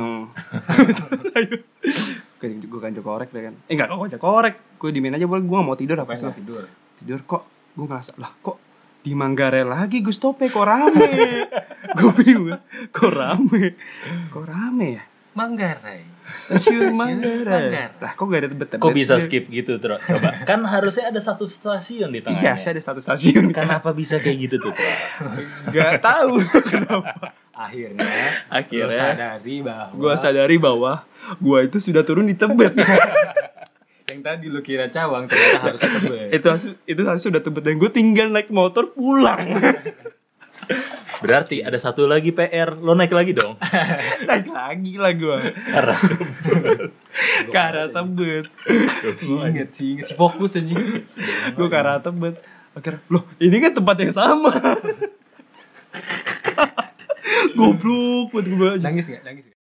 [SPEAKER 3] Hmm. gue ganjel korek deh kan. Eh enggak, gue ganjel korek. Gue dimain aja boleh. Gue nggak mau tidur apa
[SPEAKER 1] Bukan
[SPEAKER 3] sih
[SPEAKER 1] lu tidur.
[SPEAKER 3] tidur kok gue ngerasa lah kok di Manggarai lagi gue stopnya kok rame (laughs) gue bingung kok rame kok rame ya
[SPEAKER 1] Manggarai.
[SPEAKER 3] stasiun
[SPEAKER 1] Manggarai.
[SPEAKER 3] Manggarai lah kok gak ada Iya, tebet tebet
[SPEAKER 2] Kok bisa skip gitu Tro? Coba.
[SPEAKER 3] (laughs)
[SPEAKER 2] Kan harusnya ada satu stasiun di
[SPEAKER 3] iya
[SPEAKER 2] tengahnya.
[SPEAKER 3] saya ada status (laughs) stasiun kan
[SPEAKER 2] Kenapa bisa kayak gitu tuh? Tro?
[SPEAKER 3] gak tahu kenapa
[SPEAKER 1] Akhirnya, lu
[SPEAKER 3] akhirnya
[SPEAKER 1] sadari bahwa
[SPEAKER 3] gue sadari bahwa gue itu sudah turun di tebet (laughs)
[SPEAKER 1] yang tadi lu kira cawang ternyata harusnya tebet.
[SPEAKER 3] (laughs) itu harus- itu harus sudah tebet dan gue tinggal naik motor pulang (laughs)
[SPEAKER 2] Berarti ada satu lagi PR. Lo naik lagi
[SPEAKER 3] (laughs)
[SPEAKER 2] dong.
[SPEAKER 3] naik lagi lah gue
[SPEAKER 2] Karena
[SPEAKER 3] ke arah tebet
[SPEAKER 1] Singet, singet, si fokus
[SPEAKER 3] (laughs)
[SPEAKER 1] aja.
[SPEAKER 3] gue ke arah tebet akhirnya loh ini kan tempat yang sama goblok buat gue
[SPEAKER 1] Nah, Nangis nggak? Nangis nggak?